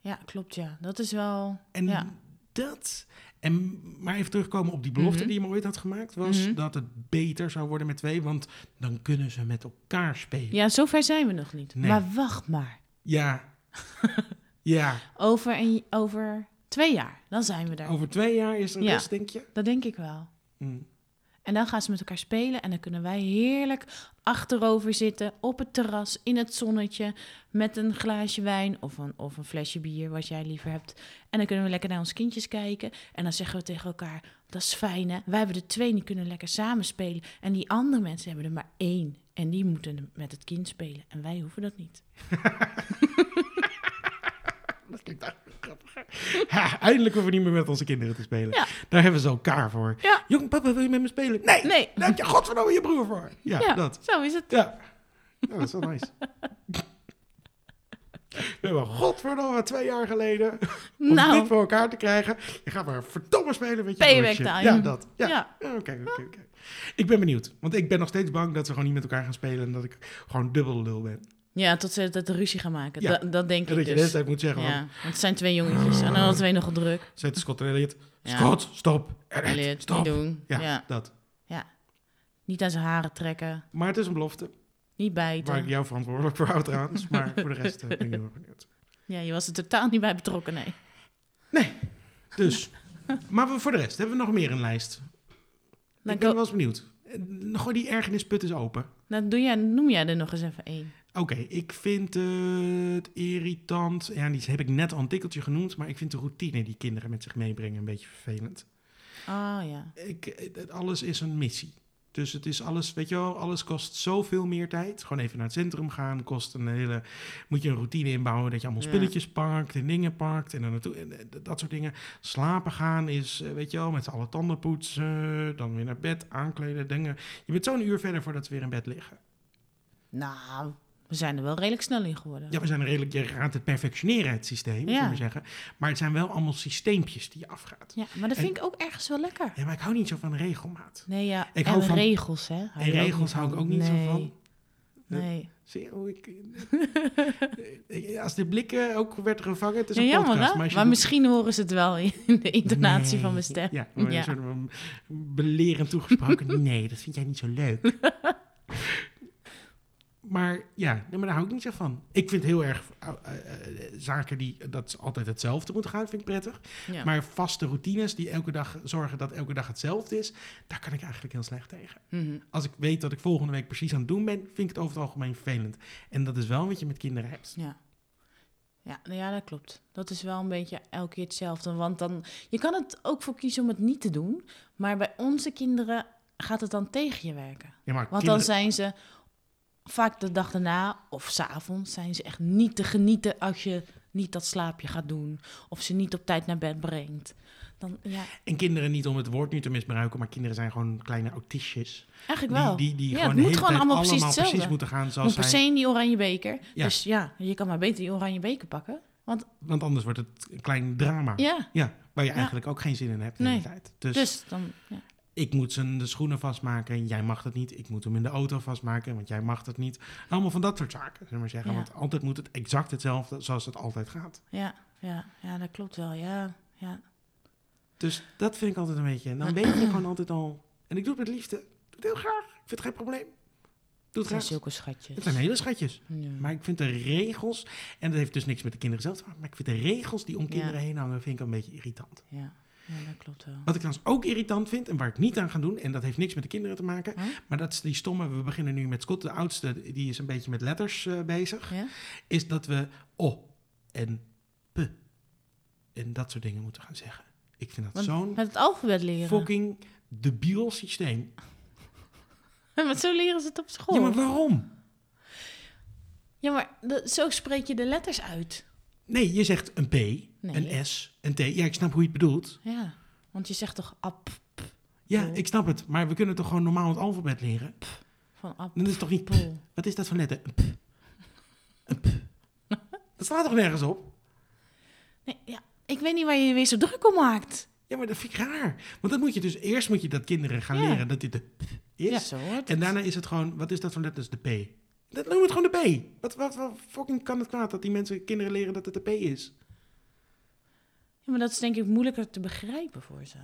[SPEAKER 2] Ja, klopt ja. Dat is wel...
[SPEAKER 1] En
[SPEAKER 2] Ja.
[SPEAKER 1] dat... En maar even terugkomen op die belofte
[SPEAKER 2] Mhm.
[SPEAKER 1] die je me ooit had gemaakt... was
[SPEAKER 2] Mhm.
[SPEAKER 1] dat het beter zou worden met twee... want dan kunnen ze met elkaar spelen.
[SPEAKER 2] Ja, zover zijn we nog niet.
[SPEAKER 1] Nee.
[SPEAKER 2] Maar wacht maar.
[SPEAKER 1] Ja. ja.
[SPEAKER 2] Over, een, over twee jaar, dan zijn we daar.
[SPEAKER 1] Over twee jaar is er
[SPEAKER 2] Ja.
[SPEAKER 1] rust, denk je?
[SPEAKER 2] Dat denk ik wel.
[SPEAKER 1] Hm.
[SPEAKER 2] En dan gaan ze met elkaar spelen en dan kunnen wij heerlijk achterover zitten op het terras in het zonnetje met een glaasje wijn of een, of een flesje bier, wat jij liever hebt. En dan kunnen we lekker naar ons kindjes kijken en dan zeggen we tegen elkaar, dat is fijn hè, wij hebben er twee en die kunnen lekker samen spelen en die andere mensen hebben er maar één en die moeten met het kind spelen en wij hoeven dat niet.
[SPEAKER 1] Dat klinkt eigenlijk grappig. Ha, eindelijk hoeven we niet meer met onze kinderen te spelen.
[SPEAKER 2] Ja.
[SPEAKER 1] Daar hebben ze elkaar voor.
[SPEAKER 2] Ja.
[SPEAKER 1] Jong, papa, wil je met me spelen? Nee,
[SPEAKER 2] Nee,
[SPEAKER 1] daar heb je godverdomme je broer voor. Ja,
[SPEAKER 2] Ja.
[SPEAKER 1] dat.
[SPEAKER 2] zo is het.
[SPEAKER 1] Ja. Ja, dat is wel nice. We hebben godverdomme twee jaar geleden om dit
[SPEAKER 2] Nou,
[SPEAKER 1] voor elkaar te krijgen. Je gaat maar verdomme spelen met je
[SPEAKER 2] Payback
[SPEAKER 1] broertje.
[SPEAKER 2] time.
[SPEAKER 1] Ja, dat. Ja.
[SPEAKER 2] ja,
[SPEAKER 1] Ja, Oké, oké, oké. Ik ben benieuwd. Want ik ben nog steeds bang dat ze gewoon niet met elkaar gaan spelen. En dat ik gewoon dubbel lul ben.
[SPEAKER 2] ja, tot ze dat ruzie gaan maken,
[SPEAKER 1] Ja.
[SPEAKER 2] dat, dat denk
[SPEAKER 1] En dat
[SPEAKER 2] ik
[SPEAKER 1] je de hele
[SPEAKER 2] dus.
[SPEAKER 1] tijd moet zeggen van,
[SPEAKER 2] Ja, want het zijn twee jongetjes en dan hadden twee nogal druk.
[SPEAKER 1] Zet de Scott en Elliot.
[SPEAKER 2] Ja.
[SPEAKER 1] Scott, stop. Elliot,
[SPEAKER 2] Elliot,
[SPEAKER 1] stop.
[SPEAKER 2] niet doen.
[SPEAKER 1] Ja,
[SPEAKER 2] Ja.
[SPEAKER 1] dat.
[SPEAKER 2] Niet aan zijn haren trekken.
[SPEAKER 1] Maar het is een belofte.
[SPEAKER 2] Niet bijten.
[SPEAKER 1] Waar ik jou verantwoordelijk voor houd trouwens. Maar voor de rest eh, ben ik heel erg benieuwd.
[SPEAKER 2] Ja, je was er totaal niet bij betrokken, nee.
[SPEAKER 1] Dus. Maar we- voor de rest hebben we nog meer een lijst.
[SPEAKER 2] Dan,
[SPEAKER 1] ik ben
[SPEAKER 2] ko-
[SPEAKER 1] wel eens benieuwd. Eh, Gooi die ergernisput eens open.
[SPEAKER 2] dan doe jij, noem jij er nog eens even één.
[SPEAKER 1] Oké, ik vind het irritant. Ja, die heb ik net al een tikkeltje genoemd. Maar ik vind de routine die kinderen met zich meebrengen een beetje vervelend.
[SPEAKER 2] Ah ja.
[SPEAKER 1] Ik, het- alles is een missie. Dus het is alles, weet je wel, alles kost zoveel meer tijd. Gewoon even naar het centrum gaan, kost een hele... Moet je een routine inbouwen dat je allemaal
[SPEAKER 2] Ja.
[SPEAKER 1] spulletjes pakt en dingen pakt en, dan naartoe, en, eh, dat soort dingen. Slapen gaan is, eh, weet je wel, met z'n allen tanden poetsen, dan weer naar bed, aankleden, dingen. Je bent zo'n uur verder voordat ze weer in bed liggen.
[SPEAKER 2] Nou, we zijn er wel redelijk snel in geworden.
[SPEAKER 1] Ja, we zijn er redelijk, je gaat het perfectioneren, het systeem,
[SPEAKER 2] Ja.
[SPEAKER 1] zou ik maar zeggen. Maar het zijn wel allemaal systeempjes die je afgaat.
[SPEAKER 2] Ja, maar dat vind ik ook ergens wel lekker.
[SPEAKER 1] Ja, maar ik hou niet zo van regelmaat.
[SPEAKER 2] Nee, ja.
[SPEAKER 1] Ik
[SPEAKER 2] en
[SPEAKER 1] hou van-
[SPEAKER 2] regels, hè. Hou
[SPEAKER 1] en
[SPEAKER 2] je ook
[SPEAKER 1] regels
[SPEAKER 2] niet
[SPEAKER 1] hou ik
[SPEAKER 2] van.
[SPEAKER 1] ook niet zo
[SPEAKER 2] Nee.
[SPEAKER 1] van.
[SPEAKER 2] Nee.
[SPEAKER 1] Zie je hoe ik... Eh, Als de blik eh, ook werd gevangen, het is
[SPEAKER 2] Ja,
[SPEAKER 1] een
[SPEAKER 2] jammer,
[SPEAKER 1] podcast. als
[SPEAKER 2] hè? Maar,
[SPEAKER 1] je doet-
[SPEAKER 2] misschien horen ze het wel in de intonatie
[SPEAKER 1] Nee.
[SPEAKER 2] van mijn stem.
[SPEAKER 1] Ja, we worden
[SPEAKER 2] Ja.
[SPEAKER 1] soort van belerend toegesproken. nee, dat vind jij niet zo leuk. maar ja, nee, maar daar hou ik niet zo van. Ik vind heel erg eh, eh, eh, zaken die dat ze altijd hetzelfde moeten gaan, vind ik prettig.
[SPEAKER 2] Ja.
[SPEAKER 1] Maar vaste routines die elke dag zorgen dat elke dag hetzelfde is, daar kan ik eigenlijk heel slecht tegen.
[SPEAKER 2] Mhm.
[SPEAKER 1] Als ik weet dat ik volgende week precies aan het doen ben, vind ik het over het algemeen vervelend. En dat is wel wat je met kinderen hebt.
[SPEAKER 2] Ja. Ja, nou ja, dat klopt. Dat is wel een beetje elke keer hetzelfde. Want dan, je kan het ook voor kiezen om het niet te doen. Maar bij onze kinderen gaat het dan tegen je werken.
[SPEAKER 1] Ja, maar
[SPEAKER 2] Want
[SPEAKER 1] kinderen-
[SPEAKER 2] dan zijn ze vaak de dag daarna of s'avonds zijn ze echt niet te genieten als je niet dat slaapje gaat doen. Of ze niet op tijd naar bed brengt. Dan, ja,
[SPEAKER 1] En kinderen niet om het woord nu te misbruiken, maar kinderen zijn gewoon kleine autistjes.
[SPEAKER 2] eigenlijk wel.
[SPEAKER 1] Die, die, die
[SPEAKER 2] ja,
[SPEAKER 1] gewoon
[SPEAKER 2] het
[SPEAKER 1] de
[SPEAKER 2] moet
[SPEAKER 1] hele
[SPEAKER 2] gewoon
[SPEAKER 1] tijd
[SPEAKER 2] allemaal precies hetzelfde.
[SPEAKER 1] moeten gaan
[SPEAKER 2] Moet
[SPEAKER 1] zoals
[SPEAKER 2] per se
[SPEAKER 1] zij.
[SPEAKER 2] in die oranje beker.
[SPEAKER 1] Ja.
[SPEAKER 2] Dus ja, je kan maar beter die oranje beker pakken.
[SPEAKER 1] Want anders wordt het een klein drama.
[SPEAKER 2] Ja,
[SPEAKER 1] Waar je
[SPEAKER 2] Ja.
[SPEAKER 1] eigenlijk ook geen zin in hebt de
[SPEAKER 2] Nee.
[SPEAKER 1] hele tijd. Dus,
[SPEAKER 2] dus, dan... Ja.
[SPEAKER 1] ik moet zijn de schoenen vastmaken, jij mag dat niet. Ik moet hem in de auto vastmaken, want jij mag dat niet. Allemaal van dat soort zaken, zullen we maar zeggen.
[SPEAKER 2] Ja.
[SPEAKER 1] Want altijd moet het exact hetzelfde zoals het altijd gaat.
[SPEAKER 2] Ja, ja, ja, dat klopt wel. Ja, ja.
[SPEAKER 1] Dus dat vind ik altijd een beetje... En dan weet je gewoon altijd al... En ik doe het met liefde. Ik doe het heel graag. Ik vind het geen probleem. Ik Doe
[SPEAKER 2] Het
[SPEAKER 1] het
[SPEAKER 2] zijn
[SPEAKER 1] graag.
[SPEAKER 2] zulke
[SPEAKER 1] Het
[SPEAKER 2] schatjes.
[SPEAKER 1] zijn hele schatjes.
[SPEAKER 2] Ja.
[SPEAKER 1] Maar ik vind de regels... En dat heeft dus niks met de kinderen zelf te maken. Maar ik vind de regels die om
[SPEAKER 2] Ja.
[SPEAKER 1] kinderen heen hangen... vind ik een beetje irritant.
[SPEAKER 2] Ja. ja, dat klopt wel.
[SPEAKER 1] Wat ik trouwens ook irritant vind en waar ik niet aan ga doen, en dat heeft niks met de kinderen te maken,
[SPEAKER 2] Huh?
[SPEAKER 1] maar dat is die stomme, we beginnen nu met Scott, de oudste, die is een beetje met letters eh, bezig,
[SPEAKER 2] Ja?
[SPEAKER 1] is dat we o en p en dat soort dingen moeten gaan zeggen. Ik vind dat
[SPEAKER 2] Want
[SPEAKER 1] zo'n
[SPEAKER 2] Met het alfabet leren.
[SPEAKER 1] fucking debiel systeem.
[SPEAKER 2] Maar zo leren ze het op school.
[SPEAKER 1] Ja, maar waarom?
[SPEAKER 2] dat- zo spreek je de letters uit.
[SPEAKER 1] Nee, je zegt een p, een s, een t. Ja, ik snap hoe je het bedoelt.
[SPEAKER 2] Ja, want je zegt toch ap
[SPEAKER 1] Ja,
[SPEAKER 2] Oh.
[SPEAKER 1] ik snap het. Maar we kunnen toch gewoon normaal het alfabet leren?
[SPEAKER 2] van ap.
[SPEAKER 1] Dan is het toch niet p?
[SPEAKER 2] Pol.
[SPEAKER 1] Wat is dat voor letter? Een p. Een p. Dat slaat toch nergens op?
[SPEAKER 2] Nee, ja. Ik weet niet waar je je weer zo druk om maakt.
[SPEAKER 1] Ja, maar dat vind ik raar. Want dan moet je dus eerst moet je dat kinderen gaan
[SPEAKER 2] Ja.
[SPEAKER 1] leren dat dit de p is.
[SPEAKER 2] Ja, zo hoort
[SPEAKER 1] En
[SPEAKER 2] het.
[SPEAKER 1] daarna is het gewoon, wat is dat voor letters de p? Dat noem het gewoon de p. Wat, wat, wat fucking kan het kwaad dat die mensen kinderen leren dat het de p is?
[SPEAKER 2] Ja, maar dat is denk ik moeilijker te begrijpen voor ze.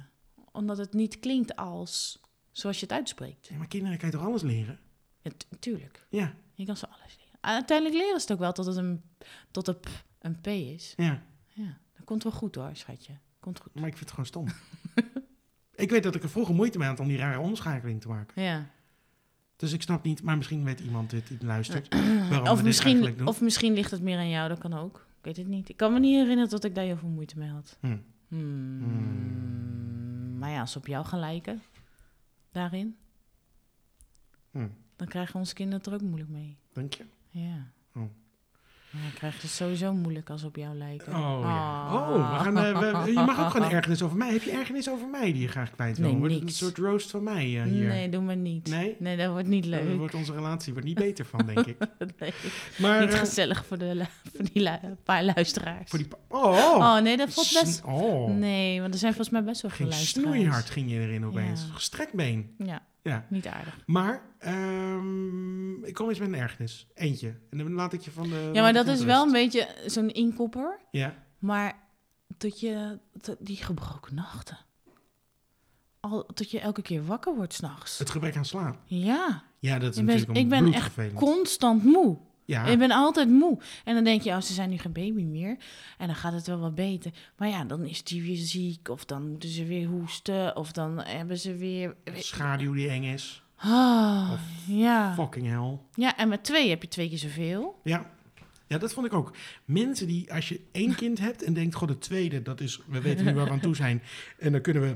[SPEAKER 2] Omdat het niet klinkt als zoals je het uitspreekt.
[SPEAKER 1] Ja, maar kinderen kan je toch alles leren?
[SPEAKER 2] Ja, tu- tuurlijk.
[SPEAKER 1] Ja,
[SPEAKER 2] Je kan ze alles leren. Ah, Uiteindelijk leren ze het ook wel tot het een, tot een, p, een P is.
[SPEAKER 1] ja.
[SPEAKER 2] Ja, dat komt wel goed hoor, schatje. Komt goed.
[SPEAKER 1] Maar ik vind het gewoon stom. ik weet dat ik er vroeger moeite mee had om die rare omschakeling te maken.
[SPEAKER 2] Ja.
[SPEAKER 1] Dus ik snap niet, maar misschien weet iemand dit, die luistert, waarom we
[SPEAKER 2] Of
[SPEAKER 1] dit eigenlijk
[SPEAKER 2] misschien,
[SPEAKER 1] doen.
[SPEAKER 2] of misschien ligt het meer aan jou, dat kan ook. Ik weet het niet. Ik kan me niet herinneren dat ik daar heel veel moeite mee had.
[SPEAKER 1] Hm.
[SPEAKER 2] Hmm. Maar ja, als ze op jou gaan lijken, daarin,
[SPEAKER 1] Hm,
[SPEAKER 2] dan krijgen onze kinderen het er ook moeilijk mee.
[SPEAKER 1] Dank je.
[SPEAKER 2] Ja.
[SPEAKER 1] Oh.
[SPEAKER 2] Maar dan krijgen ze het sowieso moeilijk als ze op jou lijken.
[SPEAKER 1] Oh, ja.
[SPEAKER 2] Ah.
[SPEAKER 1] oh we gaan, eh, we- je mag ook gewoon ergernis over mij. Heb je ergernis over mij die je graag kwijt wil?
[SPEAKER 2] Nee,
[SPEAKER 1] Wordt het een
[SPEAKER 2] niks.
[SPEAKER 1] soort roast van mij eh, hier?
[SPEAKER 2] Nee, doe maar niet.
[SPEAKER 1] Nee?
[SPEAKER 2] Nee, dat wordt niet
[SPEAKER 1] Daar
[SPEAKER 2] leuk.
[SPEAKER 1] wordt onze relatie wordt niet beter van, denk ik.
[SPEAKER 2] Nee,
[SPEAKER 1] Maar
[SPEAKER 2] niet
[SPEAKER 1] eh,
[SPEAKER 2] gezellig voor, de, lu- voor die lu- paar luisteraars.
[SPEAKER 1] voor die... pa- Oh!
[SPEAKER 2] Oh nee, dat valt best.
[SPEAKER 1] Sn- Oh.
[SPEAKER 2] Nee, want er zijn volgens mij best wel veel
[SPEAKER 1] Ging
[SPEAKER 2] luisteraars.
[SPEAKER 1] snoeihard ging je erin opeens.
[SPEAKER 2] Ja.
[SPEAKER 1] Gestrekt been.
[SPEAKER 2] Ja,
[SPEAKER 1] Ja.
[SPEAKER 2] niet aardig.
[SPEAKER 1] Maar ehm, ik kom eens met een ergernis. Eentje. En dan laat ik je van de...
[SPEAKER 2] Ja,
[SPEAKER 1] laat
[SPEAKER 2] maar
[SPEAKER 1] ik
[SPEAKER 2] dat
[SPEAKER 1] je
[SPEAKER 2] is
[SPEAKER 1] met
[SPEAKER 2] wel een
[SPEAKER 1] rust.
[SPEAKER 2] beetje zo'n inkopper.
[SPEAKER 1] Ja.
[SPEAKER 2] Maar dat je dat- die gebroken nachten. Al, dat je elke keer wakker wordt s'nachts.
[SPEAKER 1] Het gebrek aan slaap.
[SPEAKER 2] Ja,
[SPEAKER 1] Ja, dat is
[SPEAKER 2] ik ben,
[SPEAKER 1] natuurlijk
[SPEAKER 2] ik ben echt
[SPEAKER 1] bloedvervelend.
[SPEAKER 2] constant moe.
[SPEAKER 1] Ja.
[SPEAKER 2] Ik ben altijd moe. En dan denk je, oh, ze zijn nu geen baby meer. En dan gaat het wel wat beter. Maar ja, dan is die weer ziek. Of dan moeten ze weer hoesten. Of dan hebben ze weer...
[SPEAKER 1] Schaduw die eng is.
[SPEAKER 2] Ah,
[SPEAKER 1] Of
[SPEAKER 2] ja.
[SPEAKER 1] Fucking hell.
[SPEAKER 2] ja, en met twee heb je twee keer zoveel.
[SPEAKER 1] Ja. ja, dat vond ik ook. Mensen die, als je één kind hebt en denkt, god, het tweede, dat is, we weten nu waar we aan toe zijn. En dan kunnen we,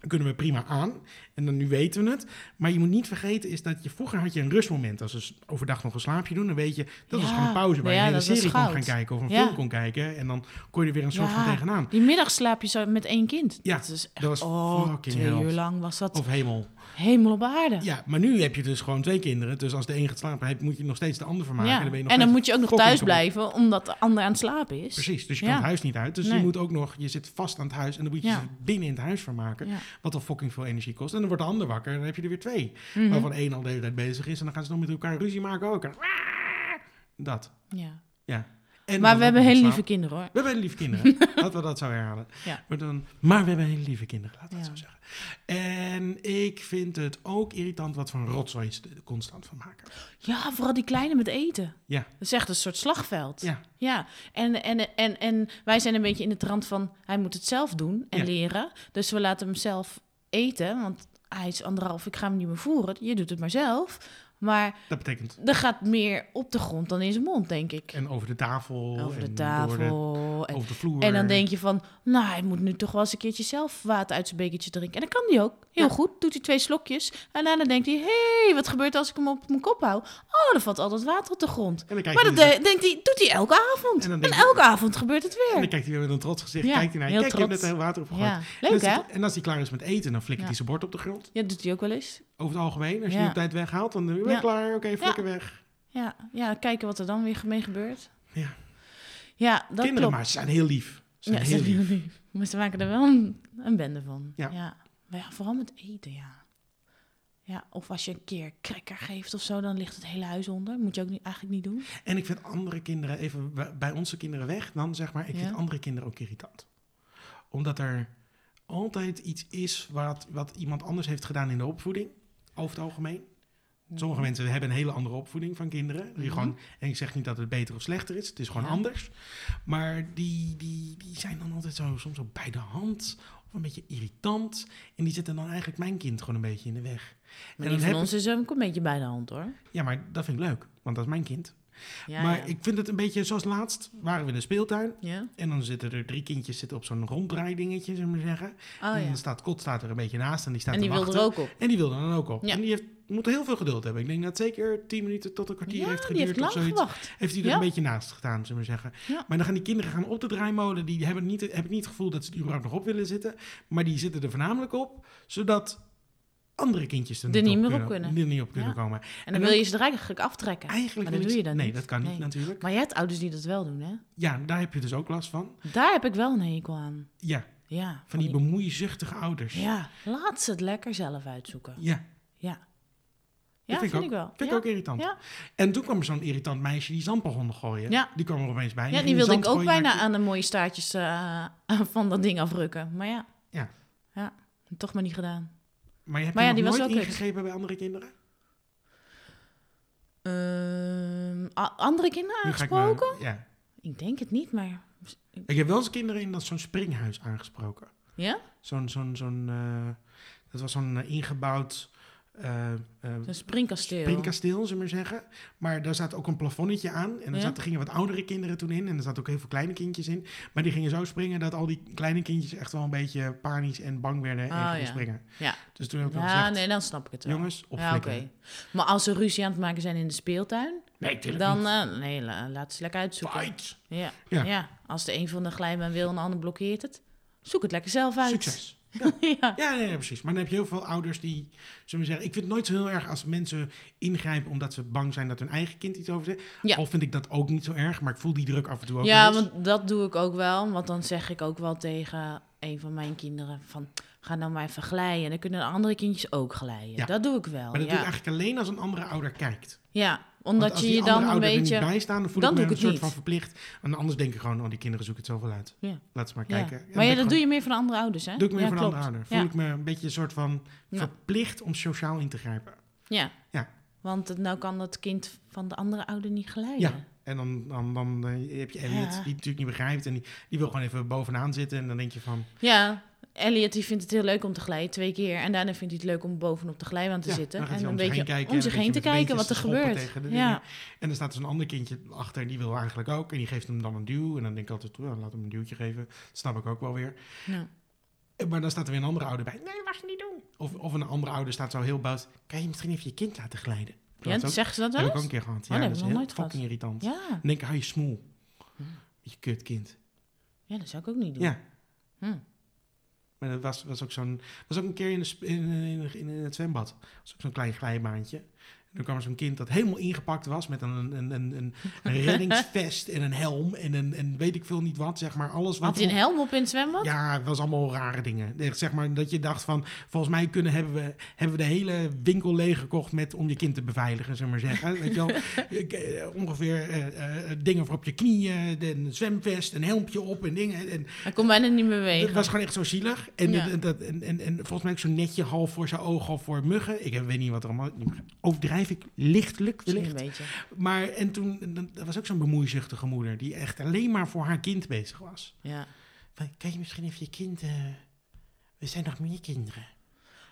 [SPEAKER 1] dan kunnen we prima aan. En dan nu weten we het. Maar je moet niet vergeten, is dat je vroeger had je een rustmoment. Als ze overdag nog een slaapje doen, dan weet je, dat was
[SPEAKER 2] Ja.
[SPEAKER 1] gewoon een pauze waar
[SPEAKER 2] Ja,
[SPEAKER 1] je een hele
[SPEAKER 2] dat was
[SPEAKER 1] serie kon
[SPEAKER 2] goud.
[SPEAKER 1] gaan kijken of een
[SPEAKER 2] Ja.
[SPEAKER 1] film kon kijken. En dan kon je er weer een soort van
[SPEAKER 2] Ja.
[SPEAKER 1] tegenaan.
[SPEAKER 2] Die middag slaap je zo met één kind.
[SPEAKER 1] Ja,
[SPEAKER 2] dat is echt...
[SPEAKER 1] dat was
[SPEAKER 2] oh,
[SPEAKER 1] fucking
[SPEAKER 2] twee
[SPEAKER 1] hel.
[SPEAKER 2] uur lang was dat.
[SPEAKER 1] Of hemel.
[SPEAKER 2] Hemel op aarde.
[SPEAKER 1] Ja, maar nu heb je dus gewoon twee kinderen. Dus als de een gaat slapen, heb- moet je nog steeds de ander vermaken.
[SPEAKER 2] Ja.
[SPEAKER 1] Dan ben je nog
[SPEAKER 2] En dan
[SPEAKER 1] steeds
[SPEAKER 2] moet je ook nog
[SPEAKER 1] fucking
[SPEAKER 2] thuis
[SPEAKER 1] kapot.
[SPEAKER 2] blijven, omdat de ander aan het slapen is.
[SPEAKER 1] Precies, dus je
[SPEAKER 2] Ja.
[SPEAKER 1] kan het huis niet uit. Dus
[SPEAKER 2] Nee.
[SPEAKER 1] je moet ook nog, je zit vast aan het huis en dan moet je
[SPEAKER 2] Ja.
[SPEAKER 1] ze binnen in het huis vermaken.
[SPEAKER 2] Ja.
[SPEAKER 1] Wat al fucking veel energie kost. En dan wordt de ander wakker en dan heb je er weer twee.
[SPEAKER 2] Mhm.
[SPEAKER 1] Waarvan één al de hele tijd bezig is en dan gaan ze nog met elkaar ruzie maken ook. En dat.
[SPEAKER 2] Ja.
[SPEAKER 1] En
[SPEAKER 2] Maar
[SPEAKER 1] dan
[SPEAKER 2] we
[SPEAKER 1] ook
[SPEAKER 2] hebben
[SPEAKER 1] nog
[SPEAKER 2] hele
[SPEAKER 1] slaap.
[SPEAKER 2] lieve kinderen hoor.
[SPEAKER 1] We hebben hele lieve kinderen. Laten we dat zo herhalen.
[SPEAKER 2] Ja.
[SPEAKER 1] Maar, dan, maar we hebben hele lieve kinderen, laten we dat zo
[SPEAKER 2] Ja.
[SPEAKER 1] zeggen. En ik vind het ook irritant wat voor een rotzooi ze er constant van maken.
[SPEAKER 2] Ja, vooral die kleine met eten.
[SPEAKER 1] Ja.
[SPEAKER 2] Dat is echt een soort slagveld.
[SPEAKER 1] Ja.
[SPEAKER 2] ja. En, en, en, en wij zijn een beetje in de trant van hij moet het zelf doen en
[SPEAKER 1] Ja.
[SPEAKER 2] leren. Dus we laten hem zelf eten, want hij is anderhalf, ik ga hem niet meer voeren. Je doet het maar zelf. Maar
[SPEAKER 1] Dat betekent
[SPEAKER 2] er gaat meer op de grond dan in zijn mond, denk ik.
[SPEAKER 1] en over de tafel.
[SPEAKER 2] Over de
[SPEAKER 1] en
[SPEAKER 2] tafel.
[SPEAKER 1] Door de,
[SPEAKER 2] en,
[SPEAKER 1] over de vloer.
[SPEAKER 2] en dan denk je van, nou, hij moet nu toch wel eens een keertje zelf water uit zijn bekertje drinken. En dat kan hij ook. Heel
[SPEAKER 1] Ja.
[SPEAKER 2] goed. Doet hij twee slokjes. En daarna denkt hij, hé, hey, wat gebeurt als ik hem op mijn kop hou? Oh, er valt al dat water op de grond.
[SPEAKER 1] En dan kijkt
[SPEAKER 2] Maar
[SPEAKER 1] hij
[SPEAKER 2] dat
[SPEAKER 1] dus-
[SPEAKER 2] de- denkt hij, doet hij elke avond.
[SPEAKER 1] En
[SPEAKER 2] En,
[SPEAKER 1] dan denkt
[SPEAKER 2] elke avond gebeurt het
[SPEAKER 1] en
[SPEAKER 2] weer.
[SPEAKER 1] dan kijkt hij weer met een trots gezicht.
[SPEAKER 2] Ja,
[SPEAKER 1] kijkt hij naar,
[SPEAKER 2] heel
[SPEAKER 1] kijk, ik heb net
[SPEAKER 2] trots.
[SPEAKER 1] heel water opgegooid.
[SPEAKER 2] Ja,
[SPEAKER 1] en,
[SPEAKER 2] leuk
[SPEAKER 1] als
[SPEAKER 2] hè?
[SPEAKER 1] hij, en als hij klaar is met eten, dan flikkert
[SPEAKER 2] Ja.
[SPEAKER 1] hij zijn bord op de grond.
[SPEAKER 2] Ja, doet hij ook wel eens.
[SPEAKER 1] Over het algemeen, als je
[SPEAKER 2] Ja.
[SPEAKER 1] die op tijd weghaalt, dan ben je
[SPEAKER 2] Ja.
[SPEAKER 1] klaar. Oké, flikker weg.
[SPEAKER 2] Ja, ja, kijken wat er dan weer mee gebeurt.
[SPEAKER 1] Ja.
[SPEAKER 2] Ja, dat
[SPEAKER 1] Kinderen,
[SPEAKER 2] klopt.
[SPEAKER 1] maar ze zijn heel lief. Ze zijn
[SPEAKER 2] ja,
[SPEAKER 1] heel
[SPEAKER 2] ze
[SPEAKER 1] lief.
[SPEAKER 2] heel lief. Maar ze maken er wel een, een bende van.
[SPEAKER 1] Ja.
[SPEAKER 2] Maar ja, vooral met eten, ja. Ja, of als je een keer cracker geeft of zo, dan ligt het hele huis onder. Moet je ook niet, eigenlijk niet doen.
[SPEAKER 1] En ik vind andere kinderen, even w- bij onze kinderen weg, dan zeg maar, ik
[SPEAKER 2] Ja.
[SPEAKER 1] vind andere kinderen ook irritant. Omdat er altijd iets is wat, wat iemand anders heeft gedaan in de opvoeding, over het algemeen. Sommige mensen hebben een hele andere opvoeding van kinderen. Die
[SPEAKER 2] Mhm.
[SPEAKER 1] gewoon, en ik zeg niet dat het beter of slechter is, het is gewoon
[SPEAKER 2] Ja.
[SPEAKER 1] anders. Maar die, die, die zijn dan altijd zo, soms ook bij de hand of een beetje irritant. En die zitten dan eigenlijk mijn kind gewoon een beetje in de weg.
[SPEAKER 2] Maar
[SPEAKER 1] en
[SPEAKER 2] die
[SPEAKER 1] dan
[SPEAKER 2] van
[SPEAKER 1] heb
[SPEAKER 2] ons is ook een beetje bij de hand, hoor.
[SPEAKER 1] ik- ja, maar dat vind ik leuk, want dat is mijn kind.
[SPEAKER 2] Ja,
[SPEAKER 1] maar
[SPEAKER 2] ja.
[SPEAKER 1] ik vind het een beetje zoals laatst waren we in de speeltuin.
[SPEAKER 2] Ja? Oh,
[SPEAKER 1] En dan zitten er drie kindjes zitten op zo'n ronddraaidingetje, zullen we maar zeggen.
[SPEAKER 2] Oh
[SPEAKER 1] en
[SPEAKER 2] ja.
[SPEAKER 1] dan staat Kot staat er een beetje naast en die staat
[SPEAKER 2] En die
[SPEAKER 1] te
[SPEAKER 2] wil
[SPEAKER 1] wachten.
[SPEAKER 2] er ook op.
[SPEAKER 1] En die wil er dan ook op.
[SPEAKER 2] Ja.
[SPEAKER 1] En die heeft, moet heel veel geduld hebben. Ik denk dat zeker tien minuten tot een kwartier
[SPEAKER 2] Ja,
[SPEAKER 1] heeft
[SPEAKER 2] die
[SPEAKER 1] geduurd
[SPEAKER 2] heeft
[SPEAKER 1] of
[SPEAKER 2] lang
[SPEAKER 1] zoiets.
[SPEAKER 2] gewacht.
[SPEAKER 1] Heeft hij er
[SPEAKER 2] Ja.
[SPEAKER 1] een beetje naast gedaan, zullen we maar zeggen.
[SPEAKER 2] Ja.
[SPEAKER 1] Maar dan gaan die kinderen gaan op de draaimolen. Die hebben niet, hebben niet het gevoel dat ze er überhaupt nog op willen zitten. Maar die zitten er voornamelijk op, zodat andere kindjes er,
[SPEAKER 2] Er niet meer op kunnen.
[SPEAKER 1] Er niet op kunnen
[SPEAKER 2] Ja.
[SPEAKER 1] komen.
[SPEAKER 2] En dan wil je ze er eigenlijk aftrekken.
[SPEAKER 1] Eigenlijk
[SPEAKER 2] maar
[SPEAKER 1] wil
[SPEAKER 2] dat
[SPEAKER 1] ik-
[SPEAKER 2] doe je dan
[SPEAKER 1] Nee,
[SPEAKER 2] niet.
[SPEAKER 1] dat kan niet
[SPEAKER 2] Nee.
[SPEAKER 1] natuurlijk.
[SPEAKER 2] Maar jij hebt ouders die dat wel doen, hè?
[SPEAKER 1] Ja, daar heb je dus ook last van.
[SPEAKER 2] Daar heb ik wel een hekel aan.
[SPEAKER 1] Ja,
[SPEAKER 2] Ja.
[SPEAKER 1] van die bemoeizuchtige ouders.
[SPEAKER 2] Ja, laat ze het lekker zelf uitzoeken. Ja,
[SPEAKER 1] Ja,
[SPEAKER 2] ja.
[SPEAKER 1] Dat
[SPEAKER 2] vind,
[SPEAKER 1] vind ik ook.
[SPEAKER 2] ik wel.
[SPEAKER 1] vind ik
[SPEAKER 2] ja.
[SPEAKER 1] ook irritant.
[SPEAKER 2] Ja.
[SPEAKER 1] En toen kwam er zo'n irritant meisje die zandbal kon gooien.
[SPEAKER 2] Ja.
[SPEAKER 1] Die kwam er opeens bij. en
[SPEAKER 2] Ja, die
[SPEAKER 1] ging
[SPEAKER 2] wilde
[SPEAKER 1] zand
[SPEAKER 2] ik ook
[SPEAKER 1] gooien naar
[SPEAKER 2] bijna
[SPEAKER 1] ki-
[SPEAKER 2] aan de mooie staartjes eh, van dat ding afrukken. Maar ja.
[SPEAKER 1] Ja.
[SPEAKER 2] Ja, toch maar niet gedaan.
[SPEAKER 1] Maar je hebt
[SPEAKER 2] Maar ja,
[SPEAKER 1] die
[SPEAKER 2] die was
[SPEAKER 1] nooit
[SPEAKER 2] wel kut.
[SPEAKER 1] ingegrepen bij andere kinderen?
[SPEAKER 2] Ehm, a- andere kinderen
[SPEAKER 1] Nu ga ik
[SPEAKER 2] aangesproken?
[SPEAKER 1] me- ja.
[SPEAKER 2] Ik, denk het niet, maar...
[SPEAKER 1] Ik heb wel eens kinderen in dat zo'n springhuis aangesproken.
[SPEAKER 2] Ja?
[SPEAKER 1] Zo'n, zo'n, zo'n, eh, dat was zo'n eh, ingebouwd eh, eh,
[SPEAKER 2] Een springkasteel.
[SPEAKER 1] springkasteel, zullen we maar zeggen. Maar daar zat ook een plafonnetje aan. En
[SPEAKER 2] Ja.
[SPEAKER 1] daar zaten, gingen wat oudere kinderen toen in. En er zaten ook heel veel kleine kindjes in. Maar die gingen zo springen dat al die kleine kindjes echt wel een beetje panisch en bang werden. en
[SPEAKER 2] Oh,
[SPEAKER 1] gingen
[SPEAKER 2] ja.
[SPEAKER 1] springen.
[SPEAKER 2] Ja.
[SPEAKER 1] Dus toen heb ik al
[SPEAKER 2] ja,
[SPEAKER 1] gezegd,
[SPEAKER 2] nee, dan snap ik het wel.
[SPEAKER 1] jongens, op
[SPEAKER 2] ja, oké. Maar als ze ruzie aan het maken zijn in de speeltuin,
[SPEAKER 1] Nee, tuurlijk
[SPEAKER 2] dan...
[SPEAKER 1] niet.
[SPEAKER 2] eh, nee, la- laat ze lekker uitzoeken.
[SPEAKER 1] Fight!
[SPEAKER 2] Ja.
[SPEAKER 1] Ja.
[SPEAKER 2] Ja. als de een van de glijbaan wil en de ander blokkeert het, zoek het lekker zelf uit.
[SPEAKER 1] Succes.
[SPEAKER 2] ja.
[SPEAKER 1] Ja, nee, nee, precies. Maar dan heb je heel veel ouders die, zullen we zeggen, ik vind het nooit zo heel erg als mensen ingrijpen omdat ze bang zijn dat hun eigen kind iets over zegt.
[SPEAKER 2] Ja.
[SPEAKER 1] Al vind ik dat ook niet zo erg, maar ik voel die druk af en toe ook.
[SPEAKER 2] ja,
[SPEAKER 1] wel eens.
[SPEAKER 2] want dat doe ik ook wel. Want dan zeg ik ook wel tegen een van mijn kinderen van... ga nou maar even glijden. Dan kunnen de andere kindjes ook glijden.
[SPEAKER 1] Ja.
[SPEAKER 2] Dat doe ik wel,
[SPEAKER 1] Maar dat
[SPEAKER 2] ja.
[SPEAKER 1] doe ik eigenlijk alleen als een andere ouder kijkt.
[SPEAKER 2] ja,
[SPEAKER 1] Want
[SPEAKER 2] omdat
[SPEAKER 1] als
[SPEAKER 2] je
[SPEAKER 1] die
[SPEAKER 2] je
[SPEAKER 1] andere
[SPEAKER 2] dan een
[SPEAKER 1] ouder er
[SPEAKER 2] beetje...
[SPEAKER 1] niet bij staan, dan voel
[SPEAKER 2] dan
[SPEAKER 1] ik me
[SPEAKER 2] doe ik
[SPEAKER 1] een
[SPEAKER 2] het
[SPEAKER 1] soort
[SPEAKER 2] niet.
[SPEAKER 1] van verplicht. En anders denk ik gewoon, oh, die kinderen zoeken het zoveel uit.
[SPEAKER 2] Ja.
[SPEAKER 1] Laat ze maar
[SPEAKER 2] Ja.
[SPEAKER 1] kijken.
[SPEAKER 2] Maar ja,
[SPEAKER 1] ben ik
[SPEAKER 2] dat
[SPEAKER 1] gewoon-
[SPEAKER 2] doe je meer van andere ouders, hè?
[SPEAKER 1] doe ik me
[SPEAKER 2] ja,
[SPEAKER 1] van een
[SPEAKER 2] klopt.
[SPEAKER 1] andere ouder. Voel
[SPEAKER 2] Ja.
[SPEAKER 1] ik me een beetje een soort van
[SPEAKER 2] Ja.
[SPEAKER 1] verplicht om sociaal in te grijpen.
[SPEAKER 2] Ja.
[SPEAKER 1] Ja.
[SPEAKER 2] Want het, nou kan dat kind van de andere ouder niet glijden.
[SPEAKER 1] Ja, en dan, dan, dan eh, heb je Elliot,
[SPEAKER 2] Ja.
[SPEAKER 1] die het natuurlijk niet begrijpt. En die, die wil gewoon even bovenaan zitten. En dan denk je van,
[SPEAKER 2] Ja, Elliot die vindt het heel leuk om te glijden, twee keer. En daarna vindt hij het leuk om bovenop de glijbaan te
[SPEAKER 1] ja,
[SPEAKER 2] zitten.
[SPEAKER 1] dan gaat
[SPEAKER 2] En
[SPEAKER 1] hij
[SPEAKER 2] een
[SPEAKER 1] om zich
[SPEAKER 2] beetje
[SPEAKER 1] heen kijken.
[SPEAKER 2] om
[SPEAKER 1] en
[SPEAKER 2] zich
[SPEAKER 1] een
[SPEAKER 2] heen te
[SPEAKER 1] beetje met
[SPEAKER 2] kijken wat er
[SPEAKER 1] beentjes te schoppen
[SPEAKER 2] gebeurt.
[SPEAKER 1] tegen de
[SPEAKER 2] Ja,
[SPEAKER 1] dingen. En dan staat dus een ander kindje achter, die wil eigenlijk ook. En die geeft hem dan een duw. En dan denk ik altijd, "Oh, laat hem een duwtje geven. Dat snap ik ook wel weer.
[SPEAKER 2] ja.
[SPEAKER 1] Eh, Maar dan staat er weer een andere ouder bij. Nee, mag je niet doen. Of, of een andere ouder staat zo heel boos. Kan je misschien even je kind laten glijden?
[SPEAKER 2] Ja,
[SPEAKER 1] dat is ook-
[SPEAKER 2] zeggen ze dat
[SPEAKER 1] heb
[SPEAKER 2] wel
[SPEAKER 1] ik ook
[SPEAKER 2] eens?
[SPEAKER 1] een keer gehad.
[SPEAKER 2] Oh,
[SPEAKER 1] ja,
[SPEAKER 2] nee,
[SPEAKER 1] dat is
[SPEAKER 2] heb ik
[SPEAKER 1] heel
[SPEAKER 2] nog nooit gehad.
[SPEAKER 1] fucking irritant.
[SPEAKER 2] Ja. Hm.
[SPEAKER 1] Dan denk ik, hou je smoel. Je kut kind.
[SPEAKER 2] ja, dat zou ik ook niet doen.
[SPEAKER 1] Ja.
[SPEAKER 2] Hm.
[SPEAKER 1] Maar dat was, was ook zo'n... was ook een keer in, de sp- in, in, in het zwembad. was ook zo'n klein glijbaantje. En toen kwam er zo'n kind dat helemaal ingepakt was... met een, een, een, een, een reddingsvest en een helm... en een, en weet ik veel niet wat, zeg maar. Alles wat
[SPEAKER 2] Had hij een helm op in het zwembad?
[SPEAKER 1] ja, het was allemaal rare dingen. Echt, Zeg maar dat je dacht van, volgens mij kunnen, hebben, we, hebben we de hele winkel leeggekocht met, om je kind te beveiligen, zullen we maar zeggen. Weet je wel? Ik, eh, Ongeveer eh, eh, dingen voor op je knieën, de- een zwemvest, een helmpje op en dingen. En
[SPEAKER 2] Hij kon bijna niet meer
[SPEAKER 1] dat
[SPEAKER 2] bewegen.
[SPEAKER 1] was gewoon echt zo zielig. En,
[SPEAKER 2] Ja.
[SPEAKER 1] dat- dat, en, en, en volgens mij ook zo netje half voor zijn oog, half voor muggen. Ik weet niet wat er allemaal... Overdrijf ik lichtelijk
[SPEAKER 2] Misschien
[SPEAKER 1] wellicht.
[SPEAKER 2] een beetje.
[SPEAKER 1] Maar en toen, en dan- dat was ook zo'n bemoeizuchtige moeder die echt alleen maar voor haar kind bezig was.
[SPEAKER 2] Ja.
[SPEAKER 1] Van, Kan je misschien even je kind... eh, er zijn nog meer kinderen.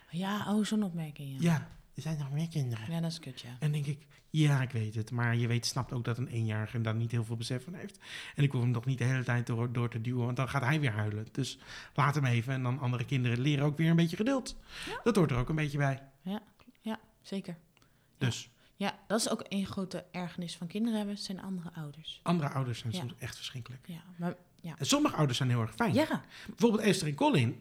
[SPEAKER 2] ja, oh, zo'n opmerking. Ja.
[SPEAKER 1] Ja, er zijn nog meer kinderen.
[SPEAKER 2] ja, dat is kut, ja.
[SPEAKER 1] En dan denk ik, ja, ik weet het. Maar je weet, snapt ook dat een eenjarige daar niet heel veel besef van heeft. En ik hoef hem nog niet de hele tijd door, door te duwen, want dan gaat hij weer huilen. Dus laat hem even. En dan andere kinderen leren ook weer een beetje geduld.
[SPEAKER 2] Ja.
[SPEAKER 1] Dat hoort er ook een beetje bij.
[SPEAKER 2] Zeker.
[SPEAKER 1] Dus
[SPEAKER 2] Ja, dat is ook een grote ergernis van kinderen hebben, zijn andere ouders.
[SPEAKER 1] andere ouders zijn
[SPEAKER 2] Ja.
[SPEAKER 1] soms echt verschrikkelijk.
[SPEAKER 2] Ja, maar ja.
[SPEAKER 1] En sommige ouders zijn heel erg fijn.
[SPEAKER 2] Ja,
[SPEAKER 1] Bijvoorbeeld Esther en Colin.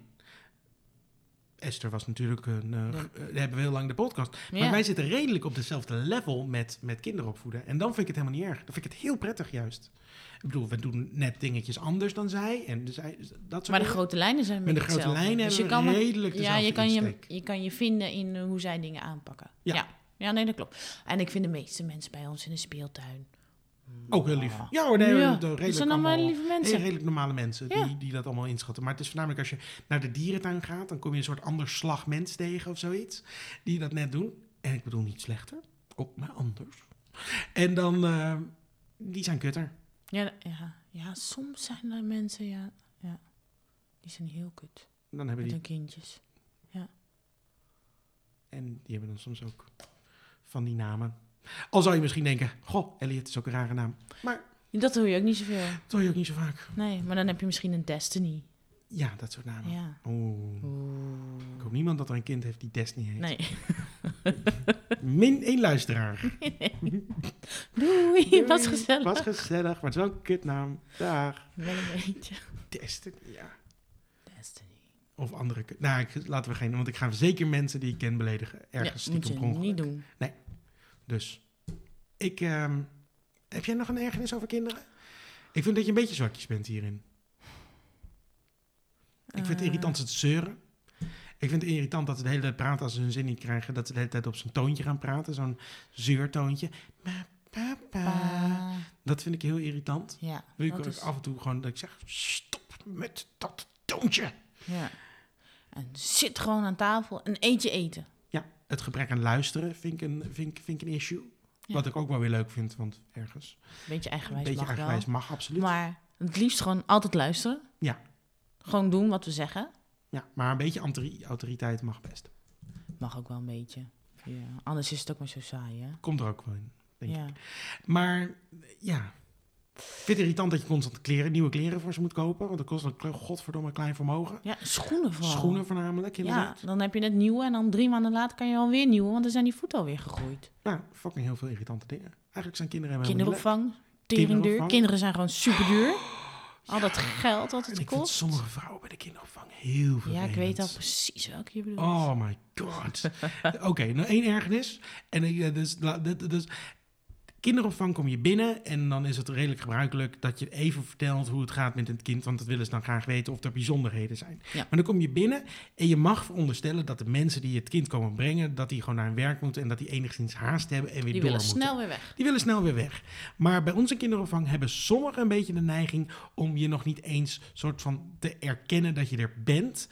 [SPEAKER 1] Esther was natuurlijk een. eh,
[SPEAKER 2] Ja.
[SPEAKER 1] eh, daar hebben we heel lang de podcast. Maar
[SPEAKER 2] Ja.
[SPEAKER 1] wij zitten redelijk op dezelfde level met, met kinderen opvoeden. En dan vind ik het helemaal niet erg. Dan vind ik het heel prettig juist. Ik bedoel, we doen net dingetjes anders dan zij. En dus zij, dat soort
[SPEAKER 2] maar de
[SPEAKER 1] dingen.
[SPEAKER 2] grote lijnen zijn
[SPEAKER 1] Met de
[SPEAKER 2] weer
[SPEAKER 1] grote
[SPEAKER 2] hetzelfde.
[SPEAKER 1] lijnen
[SPEAKER 2] Dus
[SPEAKER 1] hebben we
[SPEAKER 2] je kan
[SPEAKER 1] redelijk
[SPEAKER 2] ja, je
[SPEAKER 1] dezelfde
[SPEAKER 2] kan je,
[SPEAKER 1] insteek.
[SPEAKER 2] je kan je vinden in eh, hoe zij dingen aanpakken.
[SPEAKER 1] Ja.
[SPEAKER 2] Ja. ja. nee, dat klopt. En ik vind de meeste mensen bij ons in de speeltuin.
[SPEAKER 1] Ook heel lief. Ja hoor, Oh, nee,
[SPEAKER 2] Oh. Ja,
[SPEAKER 1] hoor, de-
[SPEAKER 2] dat
[SPEAKER 1] redelijk
[SPEAKER 2] zijn allemaal lieve
[SPEAKER 1] heel
[SPEAKER 2] mensen.
[SPEAKER 1] redelijk normale mensen
[SPEAKER 2] Ja.
[SPEAKER 1] die, die dat allemaal inschatten. Maar het is voornamelijk als je naar de dierentuin gaat, dan kom je een soort ander slag mens tegen of zoiets. Die dat net doen. En ik bedoel niet slechter, ook maar anders. En dan, eh, die zijn kutter.
[SPEAKER 2] Ja, ja, ja, soms zijn er mensen, ja, ja. Die zijn heel kut
[SPEAKER 1] Dan hebben
[SPEAKER 2] met
[SPEAKER 1] die,
[SPEAKER 2] hun kindjes.
[SPEAKER 1] en die hebben dan soms ook van die namen. Al zou je misschien denken, goh, Elliot is ook een rare naam.
[SPEAKER 2] Dat hoor je ook niet zoveel.
[SPEAKER 1] Dat hoor je ook niet zo vaak.
[SPEAKER 2] Nee, maar dan heb je misschien een Destiny.
[SPEAKER 1] Ja, dat soort namen.
[SPEAKER 2] Ja.
[SPEAKER 1] Oeh. Ik hoop niemand dat er een kind heeft die Destiny heet.
[SPEAKER 2] Nee.
[SPEAKER 1] Min één luisteraar.
[SPEAKER 2] Doei, was gezellig.
[SPEAKER 1] Was gezellig, maar het is wel een kutnaam. Dag.
[SPEAKER 2] Wel een beetje.
[SPEAKER 1] Destiny, ja.
[SPEAKER 2] Destiny.
[SPEAKER 1] Of andere... ke- Nou, ik, laten we geen... Want ik ga zeker mensen die ik ken beledigen. Ergens
[SPEAKER 2] ja, moet
[SPEAKER 1] stiekem
[SPEAKER 2] je
[SPEAKER 1] per ongeluk.
[SPEAKER 2] niet doen.
[SPEAKER 1] Dus, ik... ehm, heb jij nog een ergernis over kinderen? Ik vind dat je een beetje zwakjes bent hierin. Ik vind het
[SPEAKER 2] Eh,
[SPEAKER 1] irritant dat ze zeuren. Ik vind het irritant dat ze de hele tijd praten als ze hun zin niet krijgen. Dat ze de hele tijd op zo'n toontje gaan praten. Zo'n zeurtoontje. Ma, pa, pa.
[SPEAKER 2] pa.
[SPEAKER 1] Dat vind ik heel irritant.
[SPEAKER 2] Ah, Ja,
[SPEAKER 1] Wil ik
[SPEAKER 2] dat
[SPEAKER 1] ook
[SPEAKER 2] is-
[SPEAKER 1] af en toe gewoon dat ik zeg... Stop met dat toontje.
[SPEAKER 2] Ja. En zit gewoon aan tafel en eet je eten.
[SPEAKER 1] Ja, het gebrek aan luisteren vind ik een, vind, ik- vind ik een issue.
[SPEAKER 2] Ja.
[SPEAKER 1] Wat ik ook wel weer leuk vind, want ergens.
[SPEAKER 2] Beetje
[SPEAKER 1] Een
[SPEAKER 2] eigenwijs
[SPEAKER 1] beetje
[SPEAKER 2] mag
[SPEAKER 1] eigenwijs
[SPEAKER 2] wel.
[SPEAKER 1] mag absoluut.
[SPEAKER 2] Maar het liefst gewoon altijd luisteren.
[SPEAKER 1] Ja.
[SPEAKER 2] Gewoon doen wat we zeggen.
[SPEAKER 1] Ja, maar een beetje antori- autoriteit mag best.
[SPEAKER 2] Mag ook wel een beetje. Ja. Anders is het ook maar zo saai, hè?
[SPEAKER 1] Komt er ook wel in. Denk
[SPEAKER 2] ja.
[SPEAKER 1] Maar ja. Ik vind het irritant dat je constant kleren, nieuwe kleren voor ze moet kopen. Want dat kost een kle- godverdomme klein vermogen.
[SPEAKER 2] ja, schoenen vooral.
[SPEAKER 1] Schoenen voornamelijk,
[SPEAKER 2] Ja,
[SPEAKER 1] inderdaad.
[SPEAKER 2] dan heb je net nieuwe en dan drie maanden later kan je alweer nieuwe, want dan zijn die voeten alweer gegroeid.
[SPEAKER 1] Nou, fucking heel veel irritante dingen. Eigenlijk zijn kinderen helemaal niet leuk.
[SPEAKER 2] Kinderopvang, teringduur.
[SPEAKER 1] Kinderopvang.
[SPEAKER 2] Kinderen zijn gewoon superduur. Al dat geld wat
[SPEAKER 1] En
[SPEAKER 2] het
[SPEAKER 1] ik vind
[SPEAKER 2] kost.
[SPEAKER 1] sommige vrouwen bij de kinderopvang heel veel.
[SPEAKER 2] Ja, ik weet al precies welke je bedoelt.
[SPEAKER 1] Oh my god. Oké, nou één ergernis. En eh, dus, la- dit- dus, kinderopvang kom je binnen en dan is het redelijk gebruikelijk dat je even vertelt hoe het gaat met het kind, want dat willen ze dan graag weten of er bijzonderheden zijn.
[SPEAKER 2] Ja.
[SPEAKER 1] Maar dan kom je binnen en je mag veronderstellen dat de mensen die het kind komen brengen, dat die gewoon naar hun werk moeten en dat die enigszins haast hebben en weer
[SPEAKER 2] die
[SPEAKER 1] door
[SPEAKER 2] willen
[SPEAKER 1] moeten.
[SPEAKER 2] snel weer weg.
[SPEAKER 1] Die willen snel weer weg. Maar bij onze kinderopvang hebben sommigen een beetje de neiging om je nog niet eens soort van te erkennen dat je er bent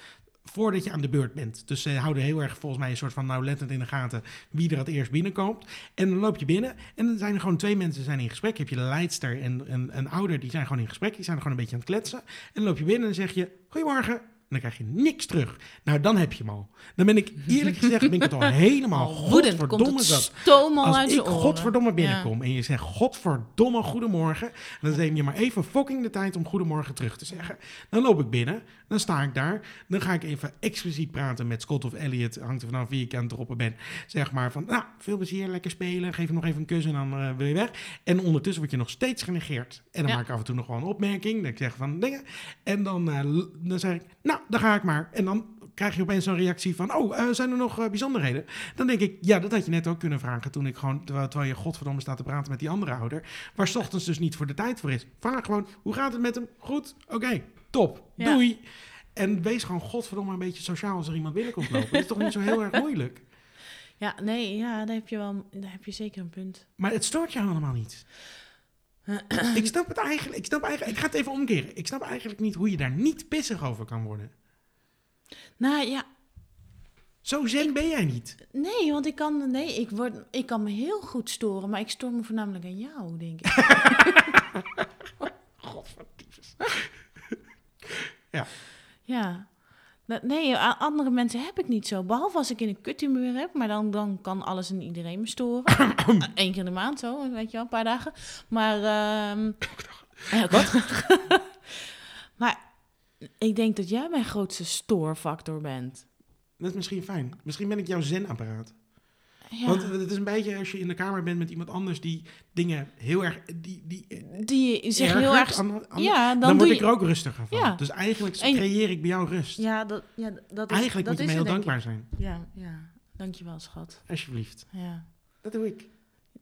[SPEAKER 1] voordat je aan de beurt bent. Dus ze houden heel erg volgens mij een soort van nauwlettend in de gaten wie er het eerst binnenkomt. En dan loop je binnen en dan zijn er gewoon twee mensen zijn in gesprek. Heb je de leidster en en een ouder, die zijn gewoon in gesprek. Die zijn gewoon een beetje aan het kletsen. En dan loop je binnen en zeg je, goedemorgen. En dan krijg je niks terug. Nou, dan heb je hem al. Dan ben ik eerlijk gezegd, ben ik het al helemaal
[SPEAKER 2] Al woedend
[SPEAKER 1] Oh,
[SPEAKER 2] komt
[SPEAKER 1] godverdomme
[SPEAKER 2] het
[SPEAKER 1] zat.
[SPEAKER 2] stoom al
[SPEAKER 1] Als
[SPEAKER 2] uit
[SPEAKER 1] ik
[SPEAKER 2] je oren.
[SPEAKER 1] godverdomme
[SPEAKER 2] Ja.
[SPEAKER 1] binnenkom en je zegt godverdomme goedemorgen, dan neem je maar even fucking de tijd om goedemorgen terug te zeggen. Dan loop ik binnen, dan sta ik daar, dan ga ik even expliciet praten met Scott of Elliot, hangt er vanaf wie ik aan het droppen ben. Zeg maar van, nou, veel plezier, lekker spelen, geef hem nog even een kus en dan eh, wil je weg. En ondertussen word je nog steeds genegeerd. En dan
[SPEAKER 2] Ja.
[SPEAKER 1] maak ik af en toe nog wel een opmerking, dat ik zeg van dingen. En dan, eh, l- dan zeg ik, nou, daar ga ik maar. En dan krijg je opeens zo'n reactie van, oh, eh, zijn er nog eh, bijzonderheden? Dan denk ik, ja, dat had je net ook kunnen vragen toen ik gewoon, terwijl, terwijl je godverdomme staat te praten met die andere ouder, waar 's ochtends dus niet voor de tijd voor is. Vraag gewoon, hoe gaat het met hem? Goed? Oké, top.
[SPEAKER 2] Ja.
[SPEAKER 1] Doei. En wees gewoon godverdomme een beetje sociaal als er iemand binnenkomt lopen. Dat is toch niet zo heel erg moeilijk?
[SPEAKER 2] Ja, nee, ja, daar heb je wel, daar heb je zeker een punt.
[SPEAKER 1] Maar het stoort je allemaal niet. ik snap het eigenlijk. Ik, snap eigenlijk, ik ga het even omkeren. Ik snap eigenlijk niet hoe je daar niet pissig over kan worden.
[SPEAKER 2] Nou ja,
[SPEAKER 1] Zo zen ben jij niet.
[SPEAKER 2] nee, want ik kan, nee, ik, word, ik kan me heel goed storen, maar ik stoor me voornamelijk aan jou, denk ik.
[SPEAKER 1] Ja.
[SPEAKER 2] Ja. Nou, Nee, aan andere mensen heb ik niet zo. Behalve als ik in een kuthumeur heb, maar dan, dan kan alles en iedereen me storen. Eén keer in de maand zo, weet je wel, een paar dagen. Maar, ehm Wat? maar ik denk dat jij mijn grootste stoorfactor bent.
[SPEAKER 1] Dat is misschien fijn. Misschien ben ik jouw zen-apparaat.
[SPEAKER 2] Ja,
[SPEAKER 1] Want het is een beetje als je in de kamer bent met iemand anders die dingen heel erg. die, die eh,
[SPEAKER 2] die zich heel
[SPEAKER 1] ergert
[SPEAKER 2] erg...
[SPEAKER 1] aan- aan-
[SPEAKER 2] ja, dan,
[SPEAKER 1] dan
[SPEAKER 2] doe
[SPEAKER 1] word
[SPEAKER 2] je...
[SPEAKER 1] ik er ook rustiger van.
[SPEAKER 2] Ja.
[SPEAKER 1] Dus eigenlijk
[SPEAKER 2] En-
[SPEAKER 1] creëer ik bij jou rust.
[SPEAKER 2] Ja, dat, ja, dat is
[SPEAKER 1] eigenlijk
[SPEAKER 2] dat
[SPEAKER 1] moet je me
[SPEAKER 2] is
[SPEAKER 1] heel
[SPEAKER 2] het, denk
[SPEAKER 1] dankbaar zijn.
[SPEAKER 2] ik. Ja, ja. Dankjewel, schat.
[SPEAKER 1] Alsjeblieft.
[SPEAKER 2] Ja,
[SPEAKER 1] Dat doe ik.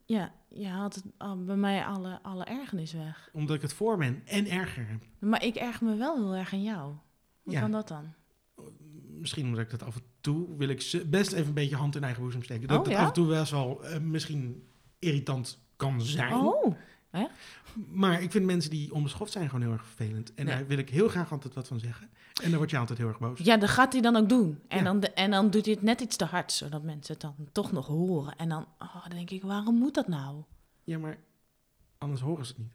[SPEAKER 2] ja je haalt het, al- bij mij alle, alle ergernis weg.
[SPEAKER 1] Omdat ik het voor ben en erger heb.
[SPEAKER 2] Maar ik erg me wel heel erg aan jou. Hoe
[SPEAKER 1] Ja.
[SPEAKER 2] kan dat dan?
[SPEAKER 1] misschien omdat ik dat af en toe wil ik ze- best even een beetje hand in eigen boezem steken. Dat
[SPEAKER 2] Oh,
[SPEAKER 1] dat
[SPEAKER 2] ja?
[SPEAKER 1] af en toe best wel eh, misschien irritant kan zijn.
[SPEAKER 2] Oh,
[SPEAKER 1] Maar ik vind mensen die onbeschoft zijn gewoon heel erg vervelend. En
[SPEAKER 2] Ja.
[SPEAKER 1] daar wil ik heel graag altijd wat van zeggen. En daar word je altijd heel erg boos.
[SPEAKER 2] ja, dat gaat hij dan ook doen. En,
[SPEAKER 1] Ja.
[SPEAKER 2] dan, de- en dan doet hij het net iets te hard, zodat mensen het dan toch nog horen. En dan, oh, dan denk ik, waarom moet dat nou?
[SPEAKER 1] Ja, maar anders horen ze het niet.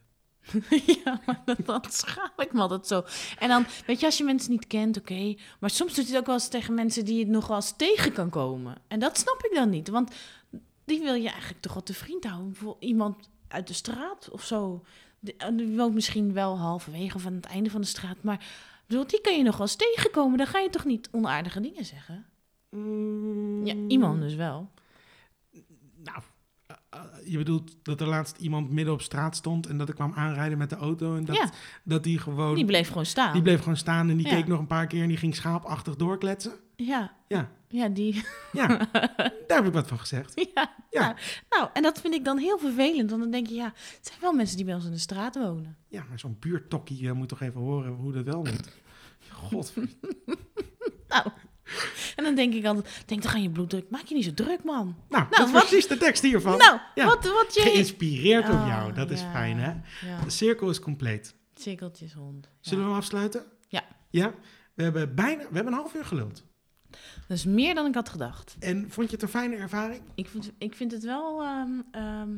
[SPEAKER 2] ja, maar dan, dan schaam ik me altijd zo. En dan, weet je, als je mensen niet kent, oké. Maar soms doet hij het ook wel eens tegen mensen die het nog wel eens tegen kan komen. En dat snap ik dan niet. Want die wil je eigenlijk toch wel te vriend houden. Bijvoorbeeld iemand uit de straat of zo. Die, eh, die woont misschien wel halverwege of aan het einde van de straat. Maar ik bedoel, die kan je nog wel eens tegenkomen. Dan ga je toch niet onaardige dingen zeggen? Ja,
[SPEAKER 1] Mm.
[SPEAKER 2] iemand dus wel.
[SPEAKER 1] Nou, eh, eh, je bedoelt dat er laatst iemand midden op straat stond en dat ik kwam aanrijden met de auto. En dat,
[SPEAKER 2] Ja.
[SPEAKER 1] dat die gewoon.
[SPEAKER 2] Die bleef gewoon staan.
[SPEAKER 1] Oh. die bleef gewoon staan en die
[SPEAKER 2] Ja.
[SPEAKER 1] keek nog een paar keer en die ging schaapachtig doorkletsen.
[SPEAKER 2] Ja.
[SPEAKER 1] Ja.
[SPEAKER 2] Ja, die...
[SPEAKER 1] Ja, daar heb ik wat van gezegd.
[SPEAKER 2] Ja.
[SPEAKER 1] Ja.
[SPEAKER 2] Nou, nou, en dat vind ik dan heel vervelend. Want dan denk je, ja, het zijn wel mensen die bij ons in de straat wonen.
[SPEAKER 1] Ja, maar zo'n buurtokkie eh, moet toch even horen hoe dat wel moet. God,
[SPEAKER 2] Nou, en dan denk ik altijd, denk toch aan je bloeddruk. Maak je niet zo druk, man.
[SPEAKER 1] nou, dat is
[SPEAKER 2] wat-
[SPEAKER 1] precies de tekst hiervan.
[SPEAKER 2] nou,
[SPEAKER 1] ja.
[SPEAKER 2] wat, wat je...
[SPEAKER 1] Geïnspireerd op
[SPEAKER 2] Oh,
[SPEAKER 1] jou, dat is
[SPEAKER 2] ja,
[SPEAKER 1] fijn hè.
[SPEAKER 2] Ja,
[SPEAKER 1] De cirkel is compleet.
[SPEAKER 2] cirkeltjeshond.
[SPEAKER 1] Zullen
[SPEAKER 2] Ja.
[SPEAKER 1] we hem afsluiten?
[SPEAKER 2] Ja.
[SPEAKER 1] Ja, we hebben bijna, we hebben een half uur geluld.
[SPEAKER 2] Dat is meer dan ik had gedacht.
[SPEAKER 1] En vond je het een fijne ervaring?
[SPEAKER 2] Ik vind, ik vind het wel... ehm, ehm,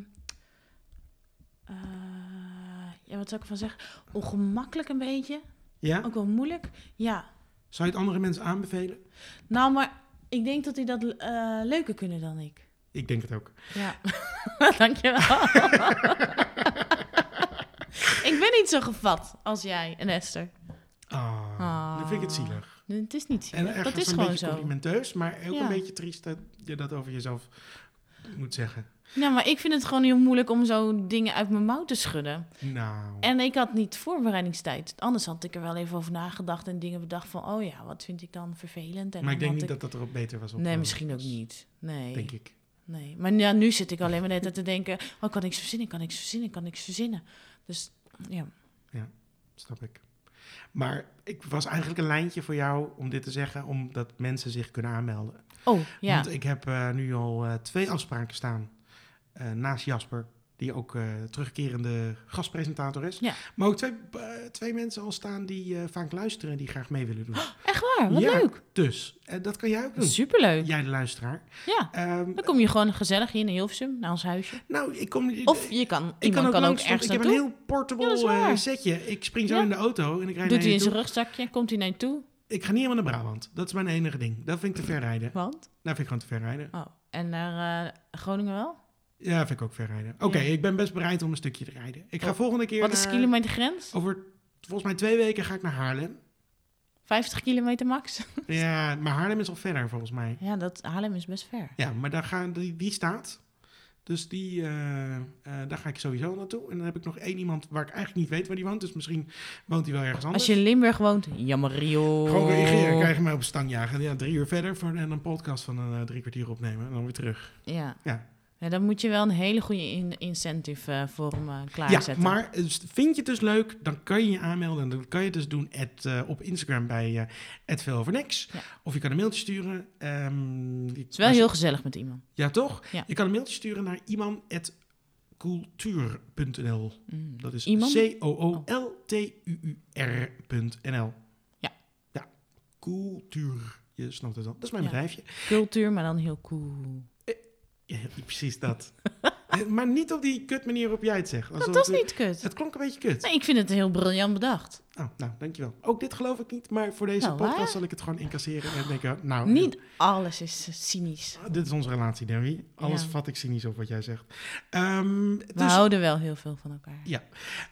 [SPEAKER 2] eh, ja, wat zou ik ervan zeggen? Ongemakkelijk een beetje.
[SPEAKER 1] Ja?
[SPEAKER 2] Ook wel moeilijk. Ja,
[SPEAKER 1] Zou je het andere mensen aanbevelen?
[SPEAKER 2] Nou, maar ik denk dat die dat eh, leuker kunnen dan ik.
[SPEAKER 1] Ik denk het ook.
[SPEAKER 2] Ja. Dankjewel. ik ben niet zo gevat als jij en Esther.
[SPEAKER 1] Ah,
[SPEAKER 2] Ah.
[SPEAKER 1] Dan vind ik het zielig.
[SPEAKER 2] Nee, Het is niet
[SPEAKER 1] En
[SPEAKER 2] zielig.
[SPEAKER 1] ergens
[SPEAKER 2] Dat is
[SPEAKER 1] een
[SPEAKER 2] gewoon
[SPEAKER 1] beetje
[SPEAKER 2] zo.
[SPEAKER 1] complimenteus, maar ook
[SPEAKER 2] Ja.
[SPEAKER 1] een beetje triest dat je dat over jezelf moet zeggen.
[SPEAKER 2] Nou, maar ik vind het gewoon heel moeilijk om zo dingen uit mijn mouw te schudden.
[SPEAKER 1] Nou.
[SPEAKER 2] En ik had niet voorbereidingstijd. Anders had ik er wel even over nagedacht en dingen bedacht van... oh ja, wat vind ik dan vervelend? En
[SPEAKER 1] maar ik
[SPEAKER 2] dan
[SPEAKER 1] denk
[SPEAKER 2] had
[SPEAKER 1] niet dat dat erop beter was.
[SPEAKER 2] Nee,
[SPEAKER 1] opgelost.
[SPEAKER 2] misschien ook niet. Nee.
[SPEAKER 1] Denk ik.
[SPEAKER 2] Nee, maar ja, nu zit ik alleen maar net te denken... oh, kan ik niks verzinnen, kan ik niks verzinnen, kan ik niks verzinnen. Dus ja,
[SPEAKER 1] Snap ik. Maar ik was eigenlijk een lijntje voor jou om dit te zeggen, omdat mensen zich kunnen aanmelden.
[SPEAKER 2] oh ja.
[SPEAKER 1] Want ik heb eh, nu al eh, twee afspraken staan eh, naast Jasper, die ook eh, terugkerende gastpresentator is.
[SPEAKER 2] Ja.
[SPEAKER 1] Maar ook twee, eh, twee mensen al staan die eh, vaak luisteren en die graag mee willen doen.
[SPEAKER 2] Echt waar, Ah, wat
[SPEAKER 1] eh, Ja.
[SPEAKER 2] leuk.
[SPEAKER 1] Dus, eh, dat kan jij ook doen.
[SPEAKER 2] Superleuk.
[SPEAKER 1] Jij de luisteraar.
[SPEAKER 2] Ja,
[SPEAKER 1] Ehm,
[SPEAKER 2] dan kom je gewoon gezellig hier in Hilversum, naar ons huisje.
[SPEAKER 1] nou, ik kom...
[SPEAKER 2] Of
[SPEAKER 1] ik
[SPEAKER 2] je kan,
[SPEAKER 1] kan
[SPEAKER 2] iemand
[SPEAKER 1] ook,
[SPEAKER 2] kan ook
[SPEAKER 1] langs, want
[SPEAKER 2] ergens
[SPEAKER 1] ik heb
[SPEAKER 2] naartoe.
[SPEAKER 1] een heel portable
[SPEAKER 2] Ja, dat is waar.
[SPEAKER 1] eh, setje. Ik spring zo
[SPEAKER 2] Ja.
[SPEAKER 1] in de auto en ik rijd
[SPEAKER 2] Doet
[SPEAKER 1] naar
[SPEAKER 2] hij
[SPEAKER 1] je
[SPEAKER 2] in zijn
[SPEAKER 1] toe.
[SPEAKER 2] rugzakje, komt hij naar je toe.
[SPEAKER 1] Ik ga niet helemaal naar Brabant. Dat is mijn enige ding. Dat vind ik te ver rijden.
[SPEAKER 2] Want?
[SPEAKER 1] Nou, vind ik gewoon te ver rijden.
[SPEAKER 2] Oh, en naar eh, Groningen wel?
[SPEAKER 1] Ja, vind ik ook ver rijden. Oké,
[SPEAKER 2] Ja.
[SPEAKER 1] ik ben best bereid om een stukje te rijden. Ik ga
[SPEAKER 2] Oh,
[SPEAKER 1] volgende keer
[SPEAKER 2] Wat is
[SPEAKER 1] naar-
[SPEAKER 2] kilometergrens?
[SPEAKER 1] Over volgens mij twee weken ga ik naar Haarlem.
[SPEAKER 2] 50 kilometer max?
[SPEAKER 1] ja, maar Haarlem is al verder volgens mij.
[SPEAKER 2] Ja, dat Haarlem is best ver.
[SPEAKER 1] Ja, maar daar gaan, die, die staat. Dus die, eh, eh, daar ga ik sowieso naartoe. En dan heb ik nog één iemand waar ik eigenlijk niet weet waar die woont. Dus misschien woont hij wel ergens anders.
[SPEAKER 2] Als je Oh. in Limburg woont, jammer Rio.
[SPEAKER 1] Gewoon reageren, krijg je mij op stang jagen. Ja, drie uur verder voor, en een podcast van een eh, drie kwartier opnemen. En dan weer terug.
[SPEAKER 2] Ja.
[SPEAKER 1] Ja.
[SPEAKER 2] Ja, dan moet je wel een hele goede in- incentive eh, voor hem eh,
[SPEAKER 1] ja,
[SPEAKER 2] klaarzetten.
[SPEAKER 1] maar eh, vind je het dus leuk, dan kan je je aanmelden. En dan kan je het dus doen at, eh, op Instagram bij uh,
[SPEAKER 2] Ja.
[SPEAKER 1] Of je kan een mailtje sturen. ehm, die-
[SPEAKER 2] Het is wel
[SPEAKER 1] als je-
[SPEAKER 2] heel gezellig met iemand.
[SPEAKER 1] Ja, toch?
[SPEAKER 2] Ja.
[SPEAKER 1] Je kan een mailtje sturen naar iemand@cultuur.nl.
[SPEAKER 2] Mm.
[SPEAKER 1] Dat is
[SPEAKER 2] Iemand?
[SPEAKER 1] C-O-O-L-T-U-U-R.nl.
[SPEAKER 2] Ja.
[SPEAKER 1] Ja, cultuur. Je snapt het al. Dat is mijn
[SPEAKER 2] Ja.
[SPEAKER 1] bedrijfje.
[SPEAKER 2] Cultuur, maar dan heel cool.
[SPEAKER 1] Ja, precies dat. Eh, maar niet op die kut manier waarop jij het zegt.
[SPEAKER 2] Dat
[SPEAKER 1] Alsof
[SPEAKER 2] was
[SPEAKER 1] het-
[SPEAKER 2] niet kut.
[SPEAKER 1] Het klonk een beetje kut.
[SPEAKER 2] Nee, ik vind het heel briljant bedacht.
[SPEAKER 1] Oh, nou, dankjewel. Ook dit geloof ik niet, maar voor deze
[SPEAKER 2] Nou,
[SPEAKER 1] podcast
[SPEAKER 2] hè?
[SPEAKER 1] zal ik het gewoon incasseren en denken, nou...
[SPEAKER 2] Niet alles is eh, cynisch.
[SPEAKER 1] eh, Dit is onze relatie, Debbie. Alles
[SPEAKER 2] Ja. Nou.
[SPEAKER 1] vat ik cynisch op wat jij zegt. Ehm,
[SPEAKER 2] We
[SPEAKER 1] dus,
[SPEAKER 2] houden wel heel veel van elkaar.
[SPEAKER 1] Ja.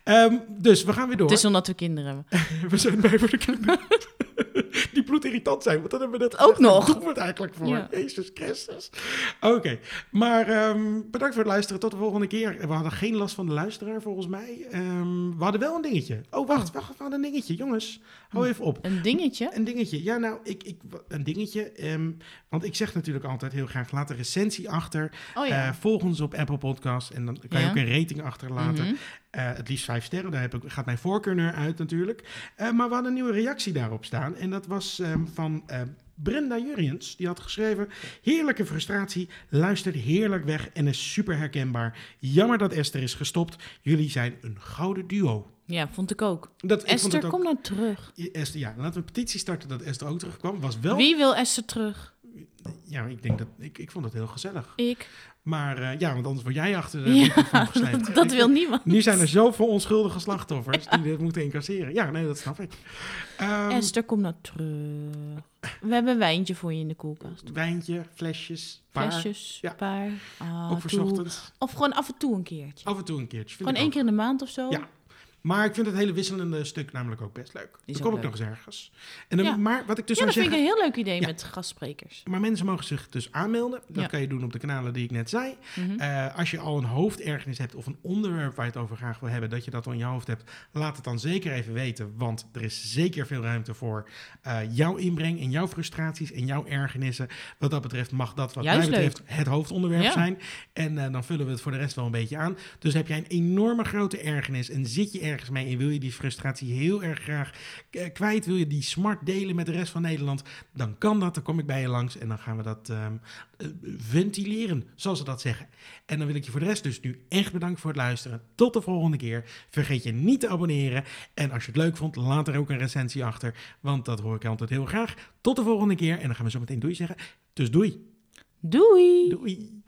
[SPEAKER 1] ehm, dus we gaan weer door.
[SPEAKER 2] Het is omdat we kinderen hebben.
[SPEAKER 1] We zijn bij voor de kinderen. Die bloedirritant zijn, want dat hebben we net
[SPEAKER 2] Ook
[SPEAKER 1] gezegd.
[SPEAKER 2] nog.
[SPEAKER 1] Daar doen we het eigenlijk voor.
[SPEAKER 2] Ja.
[SPEAKER 1] Jezus Christus. Oké, maar ehm, bedankt voor het luisteren. Tot de volgende keer. We hadden geen last van de luisteraar, volgens mij. Ehm, we hadden wel een dingetje. Oh, wacht, wacht, we hadden een dingetje. Jongens,
[SPEAKER 2] Hm.
[SPEAKER 1] hou even op.
[SPEAKER 2] Een dingetje.
[SPEAKER 1] Een dingetje. Ja, nou, ik, ik, een dingetje. ehm, want ik zeg natuurlijk altijd heel graag, laat een recensie achter.
[SPEAKER 2] Oh
[SPEAKER 1] Eh,
[SPEAKER 2] ja.
[SPEAKER 1] volg ons op Apple Podcasts en dan kan je
[SPEAKER 2] Ja.
[SPEAKER 1] ook een rating achterlaten.
[SPEAKER 2] Mhm.
[SPEAKER 1] Eh, het liefst vijf sterren, daar heb ik, gaat mijn voorkeur naar uit natuurlijk. Eh, maar we hadden een nieuwe reactie daarop staan. En dat was ehm, van eh, Brenda Jurjens. Die had geschreven, heerlijke frustratie, luistert heerlijk weg en is super herkenbaar. Jammer dat Esther is gestopt. Jullie zijn een gouden duo.
[SPEAKER 2] Ja, vond ik ook.
[SPEAKER 1] Dat, ik vond het
[SPEAKER 2] Esther,
[SPEAKER 1] ook-
[SPEAKER 2] kom nou terug.
[SPEAKER 1] Esther, ja, laten we een petitie starten dat Esther ook terugkwam. Was wel...
[SPEAKER 2] Wie wil Esther terug?
[SPEAKER 1] Ja, ik denk dat... Ik, ik vond het heel gezellig.
[SPEAKER 2] Ik.
[SPEAKER 1] Maar eh, ja, want anders word jij achter eh, de microfoon
[SPEAKER 2] Ja,
[SPEAKER 1] gesleept.
[SPEAKER 2] dat, dat wil niemand.
[SPEAKER 1] Nu zijn er zoveel onschuldige slachtoffers die dit moeten incasseren. Ja, nee, dat snap ik. Ehm,
[SPEAKER 2] Esther, kom nou terug. We hebben een wijntje voor je in de koelkast.
[SPEAKER 1] Wijntje, flesjes, paar.
[SPEAKER 2] Flesjes,
[SPEAKER 1] Ja.
[SPEAKER 2] paar. Ah,
[SPEAKER 1] ook voor 's
[SPEAKER 2] toe.
[SPEAKER 1] ochtends.
[SPEAKER 2] Of gewoon af en toe een keertje.
[SPEAKER 1] Af en toe een keertje. vind
[SPEAKER 2] gewoon
[SPEAKER 1] ik
[SPEAKER 2] één
[SPEAKER 1] ook.
[SPEAKER 2] keer in de maand of zo.
[SPEAKER 1] Ja. Maar ik vind het hele wisselende stuk namelijk ook best leuk. Dan
[SPEAKER 2] ook
[SPEAKER 1] kom ik
[SPEAKER 2] leuk.
[SPEAKER 1] nog eens ergens. En dan,
[SPEAKER 2] Ja.
[SPEAKER 1] Maar wat ik dus
[SPEAKER 2] Ja,
[SPEAKER 1] zou
[SPEAKER 2] dat vind
[SPEAKER 1] zeggen...
[SPEAKER 2] ik een heel leuk idee
[SPEAKER 1] Ja.
[SPEAKER 2] met gastsprekers.
[SPEAKER 1] Maar mensen mogen zich dus aanmelden. Dat
[SPEAKER 2] Ja.
[SPEAKER 1] kan je doen op de kanalen die ik net zei.
[SPEAKER 2] Mhm.
[SPEAKER 1] Eh, als je al een hoofdergernis hebt of een onderwerp waar je het over graag wil hebben, dat je dat al in je hoofd hebt, laat het dan zeker even weten. Want er is zeker veel ruimte voor eh, jouw inbreng en jouw frustraties en jouw ergernissen. Wat dat betreft mag dat wat mij
[SPEAKER 2] Juist
[SPEAKER 1] betreft het hoofdonderwerp
[SPEAKER 2] Ja.
[SPEAKER 1] zijn. En eh, dan vullen we het voor de rest wel een beetje aan. Dus heb jij een enorme grote ergernis en zit je ergens mee en wil je die frustratie heel erg graag eh, kwijt, wil je die smart delen met de rest van Nederland, dan kan dat. Dan kom ik bij je langs en dan gaan we dat ehm, eh, ventileren, zoals ze dat zeggen. En dan wil ik je voor de rest dus nu echt bedanken voor het luisteren. Tot de volgende keer. Vergeet je niet te abonneren. En als je het leuk vond, laat er ook een recensie achter, want dat hoor ik altijd heel graag. Tot de volgende keer en dan gaan we zo meteen doei zeggen. Dus doei.
[SPEAKER 2] Doei!
[SPEAKER 1] Doei.